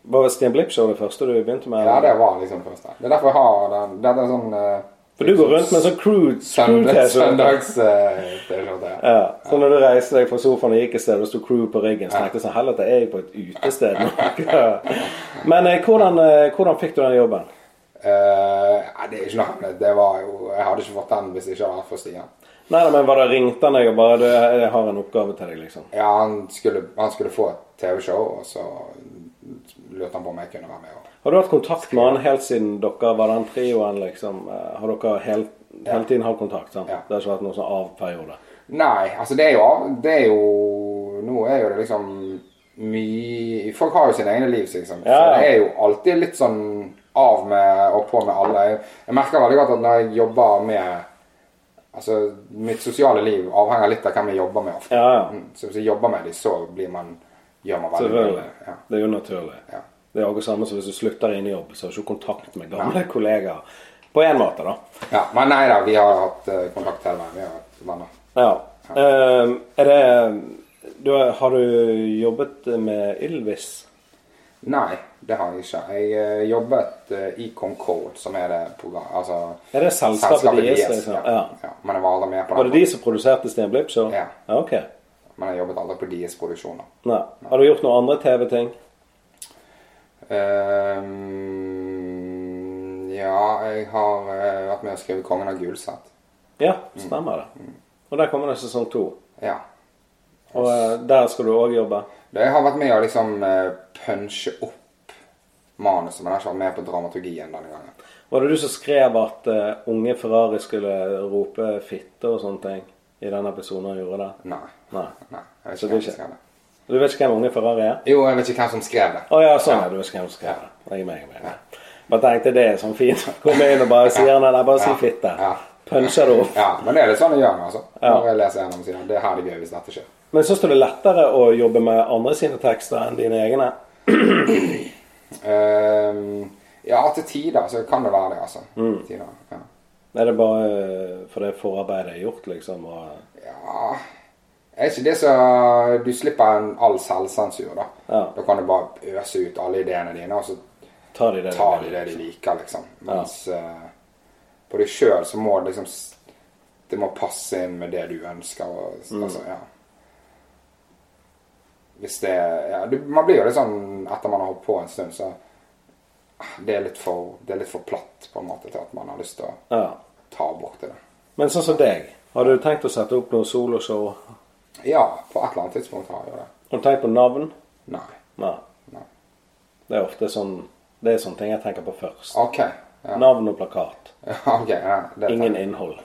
Speaker 1: Var det Stian Blipp-show det første du begynte med?
Speaker 2: ja,
Speaker 1: eller?
Speaker 2: det var liksom det første. Det er derfor jeg har den. Dette er sånn eh,
Speaker 1: For du går rundt med en sånn crew
Speaker 2: søndag-
Speaker 1: T-skjorte.
Speaker 2: søndags eh, T-skjorte.
Speaker 1: Ja. Så når du reiste deg fra sofaen og gikk et sted, og det sto crew på ryggen, så tenkte jeg sånn Helvete, er jeg på et utested nå? Men eh, hvordan, eh, hvordan fikk du den jobben?
Speaker 2: Eh, nei, det er ikke noe hemmelig. Det var jo Jeg hadde ikke fått den hvis det ikke hadde vært for Stian.
Speaker 1: Nei, nei, men var det ringte han deg og bare du, 'Jeg har en oppgave til deg', liksom?
Speaker 2: Ja, han skulle, han skulle få et TV-show, og så lurte han på om jeg kunne være med. Og
Speaker 1: Har du hatt kontakt med han helt siden dere var den trioen, liksom? Eh, Har dere helt, hele tiden hatt kontakt? sant?
Speaker 2: Ja.
Speaker 1: Det har ikke vært noen sånn av-periode?
Speaker 2: Nei, altså det er jo Det er jo Nå er jo det liksom mye Folk har jo sine egne liv, liksom. Så
Speaker 1: Ja, ja.
Speaker 2: det er jo alltid litt sånn av med og på med alle. Jeg, jeg merker veldig godt at når jeg jobber med Altså, mitt sosiale liv avhenger litt av hvem jeg jobber med ofte.
Speaker 1: Ja, ja.
Speaker 2: Mm, Så hvis jeg jobber med dem, så blir man Gjør man veldig
Speaker 1: Selvfølgelig.
Speaker 2: mye. Ja.
Speaker 1: Det er jo naturlig.
Speaker 2: Ja.
Speaker 1: Det er akkurat samme som hvis du slutter inn i jobb, så har du ikke kontakt med gamle kollegaer. På én måte, da.
Speaker 2: ja. Men nei da, vi har hatt eh, kontakt hele veien. Vi har vært venner.
Speaker 1: Ja. Eh, Er det du, har- Har du jobbet med Ylvis?
Speaker 2: Nei, det har jeg ikke. Jeg eh, jobbet eh, i Concord, som er det program... Altså,
Speaker 1: Er det selskapet deres, liksom?
Speaker 2: Ja.
Speaker 1: Ja.
Speaker 2: Ja. Men jeg var aldri med på
Speaker 1: Var det de som produserte Stian Blipp? Så?
Speaker 2: Ja.
Speaker 1: ja. Ok.
Speaker 2: Men jeg jobbet aldri på deres produksjoner.
Speaker 1: Nei. Har du gjort noen andre TV-ting?
Speaker 2: Ehm, ja, jeg har eh, vært med å skrive 'Kongen av Gulset'.
Speaker 1: Ja, stemmer
Speaker 2: Mm.
Speaker 1: det. Og der kommer det sesong to.
Speaker 2: Ja.
Speaker 1: Og eh, der skal du òg jobbe.
Speaker 2: Det jeg har vært med å liksom eh, punche opp manuset, men jeg har ikke vært med på dramaturgien denne gangen.
Speaker 1: Var det du som skrev at eh, unge Ferrari skulle rope 'fitte' og sånne ting i den episoden han gjorde det?
Speaker 2: Nei.
Speaker 1: Nei.
Speaker 2: Nei jeg vet
Speaker 1: Så det er
Speaker 2: ikke hvem som
Speaker 1: ikke-
Speaker 2: skrev det.
Speaker 1: Du vet ikke hvem unge Ferrari er?
Speaker 2: Jo, jeg vet ikke hvem som skrev det.
Speaker 1: Å ja, sånn. Ja. Du vet ikke hvem som skrev det. Jeg er meg, jeg er meg. Bare tenkte det er sånn fint. Komme inn og bare sier han Nei, bare si 'fitte'.
Speaker 2: Ja.
Speaker 1: Puncher det opp.
Speaker 2: Ja, men det er litt sånn jeg gjør nå, altså. Når jeg leser gjennom siden. Det er her det er gøy hvis dette skjer.
Speaker 1: Men syns du det er lettere å jobbe med andre sine tekster enn dine egne?
Speaker 2: Ehm, ja, til tider så kan det være det, altså. Til Tider, ja.
Speaker 1: Er det bare eh, for det forarbeidet er gjort, liksom? og...
Speaker 2: ja Er ikke det så Du slipper en all selvsensur, da.
Speaker 1: Ja.
Speaker 2: Da kan du bare øse ut alle ideene dine, og så
Speaker 1: Tar de det?
Speaker 2: tar de det de liker, liksom. Mens eh, på deg sjøl så må det liksom s- Det må passe inn med det du ønsker. Og,
Speaker 1: Mm.
Speaker 2: Altså, ja. Hvis det ja, du, Man blir jo litt sånn etter man har holdt på en stund, så ah, det er, litt for, det er litt for platt på en måte til at man har lyst til å
Speaker 1: Ja.
Speaker 2: ta bort det.
Speaker 1: Men sånn som deg, har du tenkt å sette opp noe soloshow?
Speaker 2: Ja, på et eller annet tidspunkt har jeg jo det.
Speaker 1: Har du tenkt på navn?
Speaker 2: Nei.
Speaker 1: Nei.
Speaker 2: Nei.
Speaker 1: Det er ofte sånn Det er sånne ting jeg tenker på først.
Speaker 2: OK. Ja,
Speaker 1: Navn og plakat.
Speaker 2: ok. Ja, det
Speaker 1: Ingen innhold.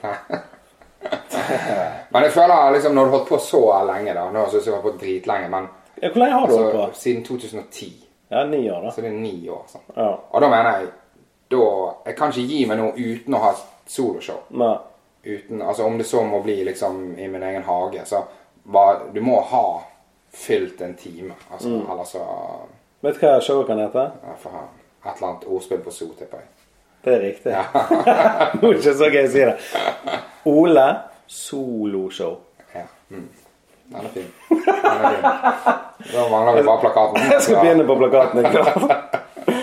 Speaker 2: Men jeg føler liksom, når du har holdt på så lenge, da Nå synes jeg jeg har holdt på dritlenge, men
Speaker 1: Ja, hvor lenge har du holdt
Speaker 2: altså,
Speaker 1: på?
Speaker 2: siden 2010
Speaker 1: Ja, ni år, da.
Speaker 2: Så det er ni år. sant?
Speaker 1: Ja.
Speaker 2: Og da mener jeg da, Jeg kan ikke gi meg noe uten å ha et soloshow.
Speaker 1: Nei.
Speaker 2: Uten, altså Om det så må bli liksom i min egen hage, så bare, Du må ha fylt en time. Altså,
Speaker 1: Mm.
Speaker 2: Eller så
Speaker 1: Vet du hva showet kan hete?
Speaker 2: ja, for faen, Et eller annet ordspill på so, tipper jeg.
Speaker 1: Det er riktig. Nå er det ikke så gøy å si det. Ole soloshow.
Speaker 2: Ja. Mm. Den er fin. Den er fin. Da mangler vi bare plakaten.
Speaker 1: Jeg skal
Speaker 2: Ja.
Speaker 1: begynne på plakaten. Ikke sant?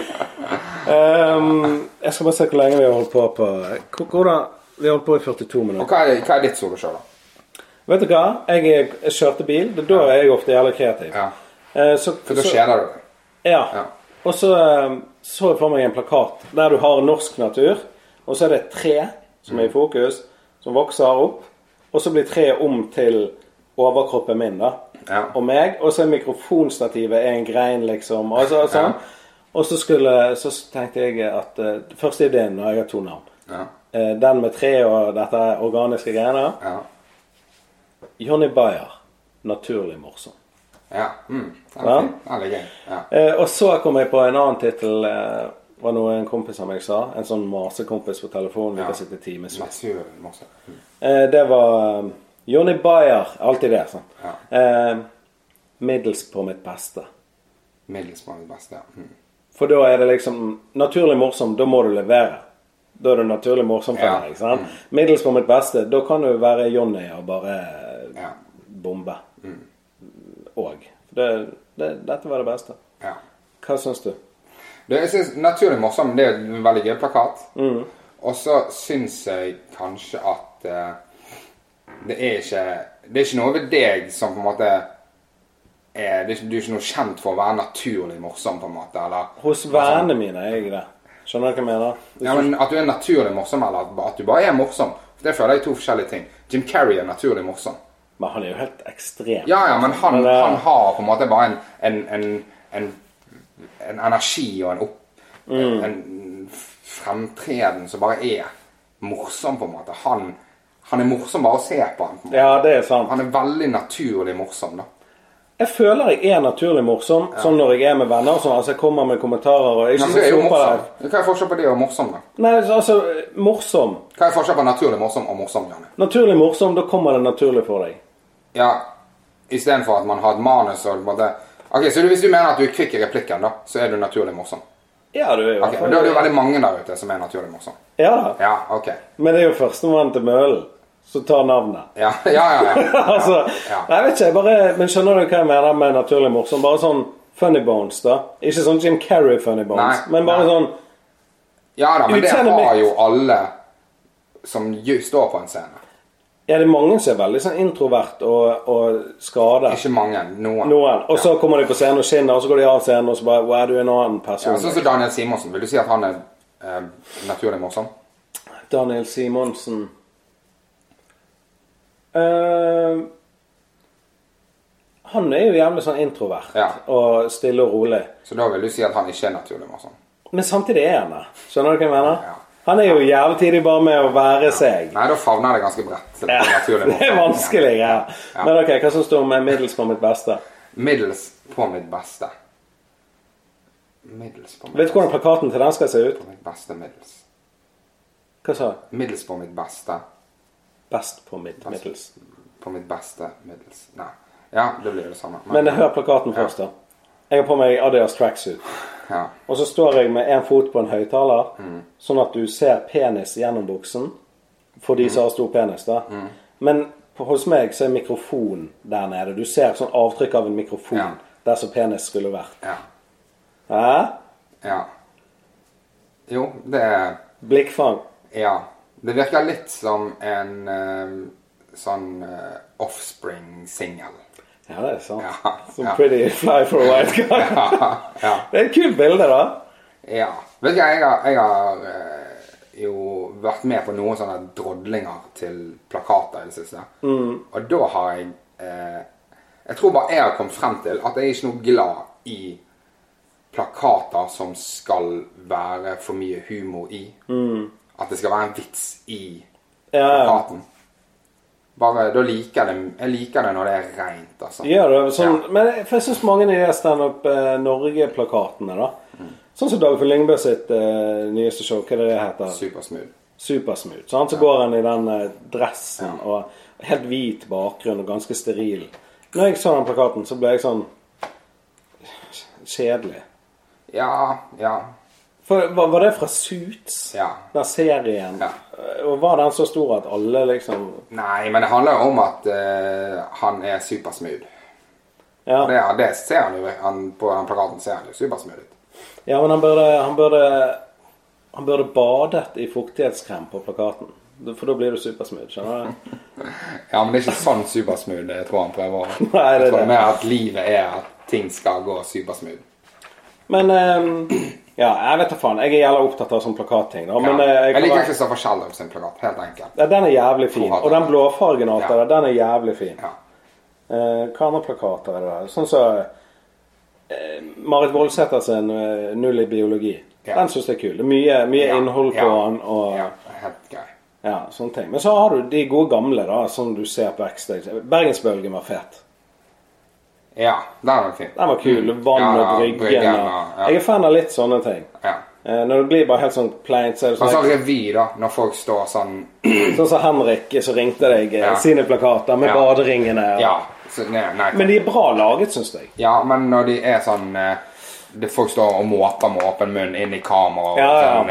Speaker 1: Ehm, jeg skal bare se hvor lenge vi har holdt på på hvor- Hvordan Vi har holdt på i 42 minutter.
Speaker 2: Og hva er, hva er ditt soloshow, da?
Speaker 1: Vet du hva? Jeg, er- jeg kjørte bil. Det er da er jeg ofte jævlig kreativ.
Speaker 2: Ja.
Speaker 1: Eh, så,
Speaker 2: For da
Speaker 1: så-
Speaker 2: kjeder du deg.
Speaker 1: Ja.
Speaker 2: Ja.
Speaker 1: Og så eh, så jeg for meg en plakat der du har norsk natur, og så er det et tre som
Speaker 2: Mm.
Speaker 1: er i fokus, som vokser opp, og så blir treet om til overkroppen min, da.
Speaker 2: Ja.
Speaker 1: Og meg. Og så er mikrofonstativet er en grein, liksom. Og så, sånn. og så, skulle, så tenkte jeg at eh, Første ideen når jeg har to navn.
Speaker 2: Ja.
Speaker 1: Eh, den med tre og dette organiske greiene.
Speaker 2: Ja.
Speaker 1: Johnny Bayer. Naturlig morsom.
Speaker 2: ja. Mm. Den
Speaker 1: Ja.
Speaker 2: er fin. Den ligger jeg. Ja.
Speaker 1: Eh, og så kom jeg på en annen tittel. Eh, var noe en kompis av meg sa. En sånn masekompis på telefonen. Vi
Speaker 2: Ja.
Speaker 1: kan sitte timevis.
Speaker 2: Naturen, morsom. Mm.
Speaker 1: Eh, det var eh, Johnny Bayer. Alltid det, sant.
Speaker 2: Ja.
Speaker 1: Eh, middels på mitt beste.
Speaker 2: Middels var det beste. ja. Mm.
Speaker 1: For da er det liksom Naturlig morsom, da må du levere. Da er du naturlig morsom for
Speaker 2: Ja. Mm.
Speaker 1: deg. ikke sant? Middels på mitt beste, da kan du være Johnny og bare
Speaker 2: Ja. Mm.
Speaker 1: bombe. Og. Det, det, dette var det beste.
Speaker 2: ja.
Speaker 1: Hva syns du?
Speaker 2: Det, jeg synes Naturlig morsom det er en veldig gøy plakat. Og så syns jeg kanskje at eh, det er ikke Det er ikke noe ved deg som på en måte er, det er ikke, Du er ikke noe kjent for å være naturlig morsom, på en måte. Eller,
Speaker 1: Hos vennene mine er jeg det. Skjønner du hva jeg mener?
Speaker 2: ja, men At du er naturlig morsom, eller at, at du bare er morsom. For Det føler jeg er to forskjellige ting. Jim Carrey er naturlig morsom.
Speaker 1: Men han er jo helt ekstrem.
Speaker 2: Ja, ja, men han,
Speaker 1: Men, eh,
Speaker 2: han har på en måte bare en, en, en, en, en energi og en, opp,
Speaker 1: Mm.
Speaker 2: en fremtreden som bare er morsom, på en måte. Han, han er morsom bare å se på han. På en måte.
Speaker 1: Ja, det er sant.
Speaker 2: Han er veldig naturlig morsom, da.
Speaker 1: Jeg føler jeg er naturlig morsom, sånn når jeg er med venner og sånn. Altså, jeg kommer med kommentarer og jeg
Speaker 2: Ja,
Speaker 1: synes
Speaker 2: men det er
Speaker 1: jeg
Speaker 2: jo
Speaker 1: soper
Speaker 2: morsom.
Speaker 1: deg.
Speaker 2: Hva er forskjellen på det og morsom, da?
Speaker 1: Nei, altså, morsom.
Speaker 2: Hva er forskjellen på naturlig morsom og morsom, Janne?
Speaker 1: Naturlig morsom, da kommer det naturlig for deg.
Speaker 2: Ja, istedenfor at man har et manus og på en måte Ok, så du- Hvis du mener at du er kvikk i replikken, da, så er du naturlig morsom?
Speaker 1: Ja, du er jo i
Speaker 2: Ok,
Speaker 1: hvert
Speaker 2: men
Speaker 1: fall-
Speaker 2: Da er det jo veldig mange der ute som er naturlig morsom.
Speaker 1: Ja da.
Speaker 2: Ja, ok.
Speaker 1: Men det er jo førstemann til mølen som tar navnet.
Speaker 2: Ja, ja, ja. ja.
Speaker 1: altså,
Speaker 2: ja.
Speaker 1: Nei, jeg vet ikke, jeg bare, men skjønner du hva jeg mener med naturlig morsom? Bare sånn funny bones, da. Ikke sånn Jim Carrey funny bones,
Speaker 2: Nei,
Speaker 1: men bare
Speaker 2: nei.
Speaker 1: sånn
Speaker 2: ja da, men det
Speaker 1: Utseendet
Speaker 2: har
Speaker 1: mitt.
Speaker 2: jo alle som ju- står på en scene.
Speaker 1: Ja, det er mange som er veldig sånn introvert og, og skada.
Speaker 2: Ikke mange, noen.
Speaker 1: Noen. Og så kommer de på scenen og skinner, og så går de av scenen og så bare Wow, du er en annen
Speaker 2: Ja,
Speaker 1: person.
Speaker 2: sånn som Daniel Simonsen. Vil du si at han er eh, naturlig morsom?
Speaker 1: Daniel Simonsen. Eh, han er jo jævlig sånn introvert
Speaker 2: Ja.
Speaker 1: og stille og rolig.
Speaker 2: Så da vil du si at han ikke er naturlig morsom?
Speaker 1: Men samtidig er han det. Skjønner du hva jeg mener?
Speaker 2: Ja.
Speaker 1: Han er jo jævlig tidlig bare med å være seg.
Speaker 2: Nei, da favner det ganske bredt.
Speaker 1: Ja.
Speaker 2: naturlig
Speaker 1: Det er
Speaker 2: morsom.
Speaker 1: vanskelig, ja.
Speaker 2: Ja.
Speaker 1: Men ok, hva syns du om middels på mitt beste?
Speaker 2: Middels på mitt beste. Middels på mitt
Speaker 1: Vet du hvordan plakaten til den skal se ut?
Speaker 2: På mitt beste middels.
Speaker 1: Hva sa du?
Speaker 2: Middels på mitt beste.
Speaker 1: Best på mitt middels.
Speaker 2: På mitt beste middels. Nei. Ja, det blir jo det samme.
Speaker 1: Men eh, hør plakaten først, da. Jeg har på meg Adidas tracksuit.
Speaker 2: Ja.
Speaker 1: Og så står jeg med én fot på en høyttaler,
Speaker 2: Mm.
Speaker 1: sånn at du ser penis gjennom buksen. For
Speaker 2: Mm.
Speaker 1: de som har stor penis, da. Men på, hos meg så er mikrofon der nede. Du ser sånn avtrykk av en mikrofon
Speaker 2: Ja.
Speaker 1: der som penis skulle vært.
Speaker 2: ja.
Speaker 1: Hæ?
Speaker 2: Ja. Jo, det er
Speaker 1: Blikkfang.
Speaker 2: Ja. Det virker litt som en eh, sånn eh, offspring-singel.
Speaker 1: Ja, det er sant.
Speaker 2: Ja,
Speaker 1: Som
Speaker 2: ja.
Speaker 1: pretty fly for a white guy.
Speaker 2: ja.
Speaker 1: Det er et kult bilde, da.
Speaker 2: ja. Vet du hva, jeg har, jeg har eh, jo vært med på noen sånne drodlinger til plakater i det siste. Og da har jeg eh, Jeg tror bare jeg har kommet frem til at jeg er ikke noe glad i plakater som skal være for mye humor i. At det skal være en vits i
Speaker 1: Ja, ja.
Speaker 2: plakaten. Bare, da liker jeg det, jeg liker det når det er rent, altså.
Speaker 1: Ja, det er sånn,
Speaker 2: Ja.
Speaker 1: Men jeg- for jeg syns mange av de der standup eh, Norge-plakatene, da
Speaker 2: Mm.
Speaker 1: Sånn som Dagfinn Lyngbø sitt eh, nyeste show, hva er det det heter?
Speaker 2: Supersmooth.
Speaker 1: Supersmooth. Så han så går han i den eh, dressen og helt hvit bakgrunn og ganske steril. Når jeg så den plakaten, så ble jeg sånn Kjedelig.
Speaker 2: Ja, ja.
Speaker 1: For Var, var det fra Suits,
Speaker 2: Ja.
Speaker 1: den serien?
Speaker 2: Ja.
Speaker 1: Og var den så stor at alle liksom
Speaker 2: Nei, men det handler jo om at eh, han er supersmooth.
Speaker 1: Ja.
Speaker 2: Og det, det ser han jo han, på den plakaten. ser han jo supersmooth ut.
Speaker 1: Ja, men han burde, han burde, han burde badet i fuktighetskrem på plakaten. For da blir du supersmooth, skjønner du?
Speaker 2: Ja, men det er ikke sånn supersmooth jeg tror han prøver å
Speaker 1: Nei, det er
Speaker 2: Jeg tror
Speaker 1: det.
Speaker 2: mer at livet er at ting skal gå supersmooth.
Speaker 1: Men eh, Ja, jeg vet da faen. Jeg er jævla opptatt av sånn plakatting. da,
Speaker 2: Ja.
Speaker 1: Men eh,
Speaker 2: jeg,
Speaker 1: kan
Speaker 2: liker
Speaker 1: være-
Speaker 2: ikke Stoffer Schjelderup sin plakat. Helt enkelt.
Speaker 1: ja, Den er jævlig fin. Og den blåfargen alt det
Speaker 2: Ja.
Speaker 1: der, den er jævlig fin.
Speaker 2: Ja.
Speaker 1: Eh, hva andre plakater er det der? Sånn som eh, Marit Voldsæter sin eh, 'Null i biologi'.
Speaker 2: Ja.
Speaker 1: Den syns jeg er kul. Det er mye, mye
Speaker 2: Ja,
Speaker 1: innhold på
Speaker 2: ja,
Speaker 1: den. og...
Speaker 2: ja, helt grei.
Speaker 1: Ja, sånne ting. Men så har du de gode gamle, da, som du ser på backstage. Bergensbølgen var fet.
Speaker 2: Ja, den var fin.
Speaker 1: Den var kul. Vann
Speaker 2: Mm. Ja, ja,
Speaker 1: og bryggen.
Speaker 2: bryggen,
Speaker 1: Og...
Speaker 2: ja, ja.
Speaker 1: Jeg er fan av litt sånne ting.
Speaker 2: Ja.
Speaker 1: Eh, når det blir bare helt sånn plaint, så er det
Speaker 2: Men
Speaker 1: sånn
Speaker 2: sånn revy, da. Når folk står sånn
Speaker 1: Sånn som Henrik eh, som ringte deg eh,
Speaker 2: Ja.
Speaker 1: sine plakater med
Speaker 2: Ja.
Speaker 1: baderingene. og-
Speaker 2: Ja. Så, nei, nei.
Speaker 1: Men de er bra laget, syns jeg.
Speaker 2: Ja, men når de er sånn eh, det Folk står og måper med åpen munn inn i kamera og
Speaker 1: Ja, ja.
Speaker 2: sånn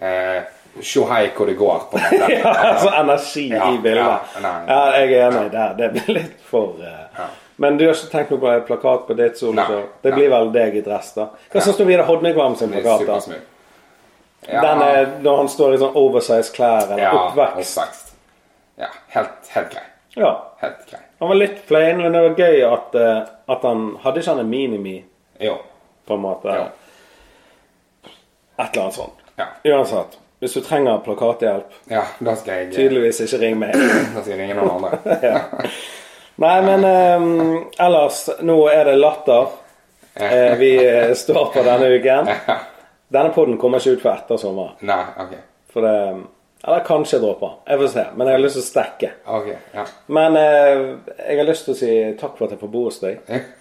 Speaker 2: eh, eh, Sjå hei hvor det går, på en måte.
Speaker 1: Ja, altså energi
Speaker 2: Ja,
Speaker 1: i bildet.
Speaker 2: ja,
Speaker 1: Ja,
Speaker 2: nei.
Speaker 1: jeg er enig der. Det blir litt for eh, Men du har ikke tenkt noe på en plakat på ditt soloshow?
Speaker 2: Nei,
Speaker 1: Det
Speaker 2: nei.
Speaker 1: blir vel deg i dress, da. Hva
Speaker 2: Ja.
Speaker 1: syns du om Vidar Hodnekvam sin
Speaker 2: Det er
Speaker 1: plakat? da?
Speaker 2: supersmooth. Ja,
Speaker 1: Den er når han står i sånn oversize klær eller
Speaker 2: ja,
Speaker 1: oppvekst.
Speaker 2: oppvekst. Ja, helt, helt grei.
Speaker 1: Ja.
Speaker 2: Helt grei.
Speaker 1: Han var litt plain, men det var gøy at, eh, at han Hadde ikke han en minimi,
Speaker 2: Jo.
Speaker 1: på en måte?
Speaker 2: Ja.
Speaker 1: Et eller annet sånt.
Speaker 2: Ja.
Speaker 1: Uansett, hvis du trenger plakathjelp,
Speaker 2: ja, da skal jeg
Speaker 1: tydeligvis ikke ring meg.
Speaker 2: Da skal jeg ringe noen andre.
Speaker 1: Nei, men eh, ellers Nå er det latter eh, vi eh, står på denne uken. Denne poden kommer ikke ut før etter sommeren.
Speaker 2: Nei, OK.
Speaker 1: For det Eller kanskje jeg dropper. Jeg får se. Men jeg har lyst til å stikke.
Speaker 2: ok, ja.
Speaker 1: Men eh, jeg har lyst til å si takk for at jeg får bo hos deg.
Speaker 2: Jo,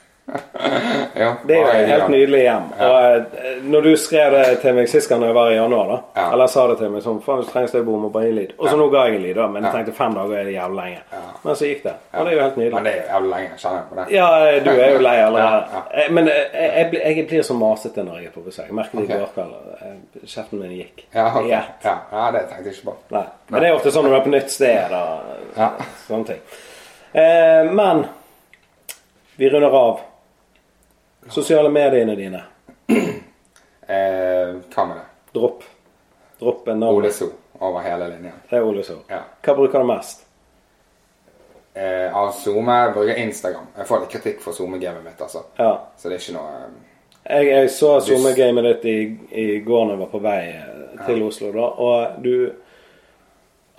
Speaker 1: Det er jo
Speaker 2: bare
Speaker 1: et helt
Speaker 2: gjør.
Speaker 1: nydelig hjem. Og eh, når du skrev det til meg sist gang jeg var i januar, da,
Speaker 2: Ja.
Speaker 1: eller sa det til meg sånn Faen, du trenger et sted å bo, må bare gi lyd. Og så nå ga jeg en lyd, da, men jeg tenkte fem dager er det jævlig lenge. Men så gikk det. Og det er jo helt nydelig.
Speaker 2: Men det er jo jævlig lenge. Kjenner jeg på det.
Speaker 1: Ja, du er jo lei allerede.
Speaker 2: Ja,
Speaker 1: Eh, Men eh, jeg, jeg, blir- jeg blir så masete når jeg er på besøk. Jeg merket det i
Speaker 2: Ok.
Speaker 1: går kveld. eh, Kjeften min gikk.
Speaker 2: Ja, ok.
Speaker 1: Ja.
Speaker 2: ja, ja, det tenkte jeg ikke på.
Speaker 1: Nei. Men det er ofte sånn når du er på nytt sted og
Speaker 2: Ja.
Speaker 1: sånne ting. Eh, men vi runder av. Sosiale mediene dine.
Speaker 2: Eh, hva med det?
Speaker 1: Dropp. Dropp en navn.
Speaker 2: Ole So over hele linjen.
Speaker 1: Det er Ole Soo.
Speaker 2: Ja.
Speaker 1: Hva bruker du mest?
Speaker 2: Eh, av SoMe bruker Instagram. Jeg får litt kritikk for SoMe-gamet mitt, altså.
Speaker 1: Ja.
Speaker 2: Så det er ikke noe eh,
Speaker 1: Jeg, jeg så sommergamet ditt i, i går når jeg var på vei eh, til Oslo, da, og du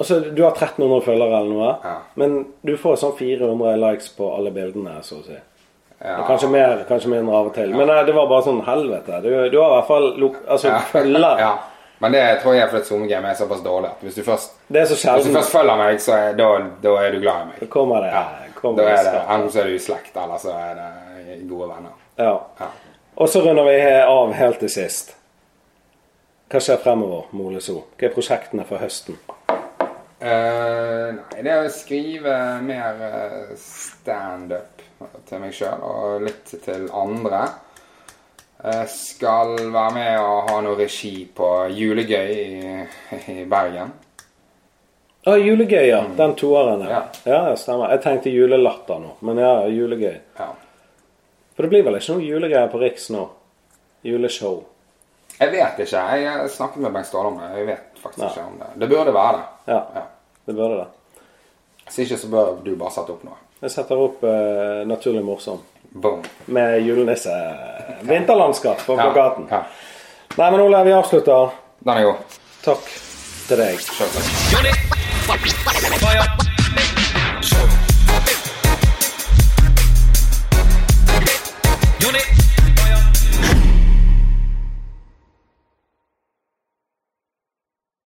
Speaker 1: Altså, du har 1300 følgere eller noe,
Speaker 2: Ja.
Speaker 1: men du får sånn 400 likes på alle bildene, så å si.
Speaker 2: ja,
Speaker 1: Kanskje mer, kanskje mindre av og til. Men eh, det var bare sånn helvete. Du, du har i hvert fall lok altså, følgere.
Speaker 2: ja. Men det tror jeg er fordi SoMe-gamet er såpass dårlig at hvis du først,
Speaker 1: Det er så
Speaker 2: hvis du
Speaker 1: sjelden.
Speaker 2: først følger meg, så er, da, da er du glad i meg.
Speaker 1: Så kommer det. Kommer
Speaker 2: Da er det,
Speaker 1: skap.
Speaker 2: Enten så er du i slekt, eller så er det gode venner.
Speaker 1: Ja.
Speaker 2: Ja.
Speaker 1: Og så runder vi he- av helt til sist. Hva skjer fremover, Mole So? Hva er prosjektene for høsten?
Speaker 2: Eh, nei, det er å skrive mer eh, standup til meg sjøl og litt til andre. Jeg skal være med og ha noe regi på Julegøy i, i Bergen.
Speaker 1: Ja, Ah, julegøy, ja. Den toeren der.
Speaker 2: Mm. Ja.
Speaker 1: Ja, det stemmer. Jeg tenkte julelatter nå, men ja, julegøy.
Speaker 2: Ja.
Speaker 1: For det blir vel ikke noe julegreier på Riks nå? Juleshow.
Speaker 2: Jeg vet ikke. Jeg har snakket med Bengt Ståle om det. Jeg vet faktisk
Speaker 1: Nei.
Speaker 2: ikke om det. Det burde være det.
Speaker 1: Ja, det burde det.
Speaker 2: Hvis ikke så bør du bare sette opp noe.
Speaker 1: Jeg setter opp eh, Naturlig morsom
Speaker 2: Boom.
Speaker 1: med julenisse. eh, Vinterlandskap på
Speaker 2: Ja,
Speaker 1: plakaten.
Speaker 2: ja.
Speaker 1: Nei, men Olav, vi avslutter.
Speaker 2: Den er god.
Speaker 1: Takk til deg.
Speaker 2: Sjøl takk.
Speaker 5: Unit. Fuck, fuck,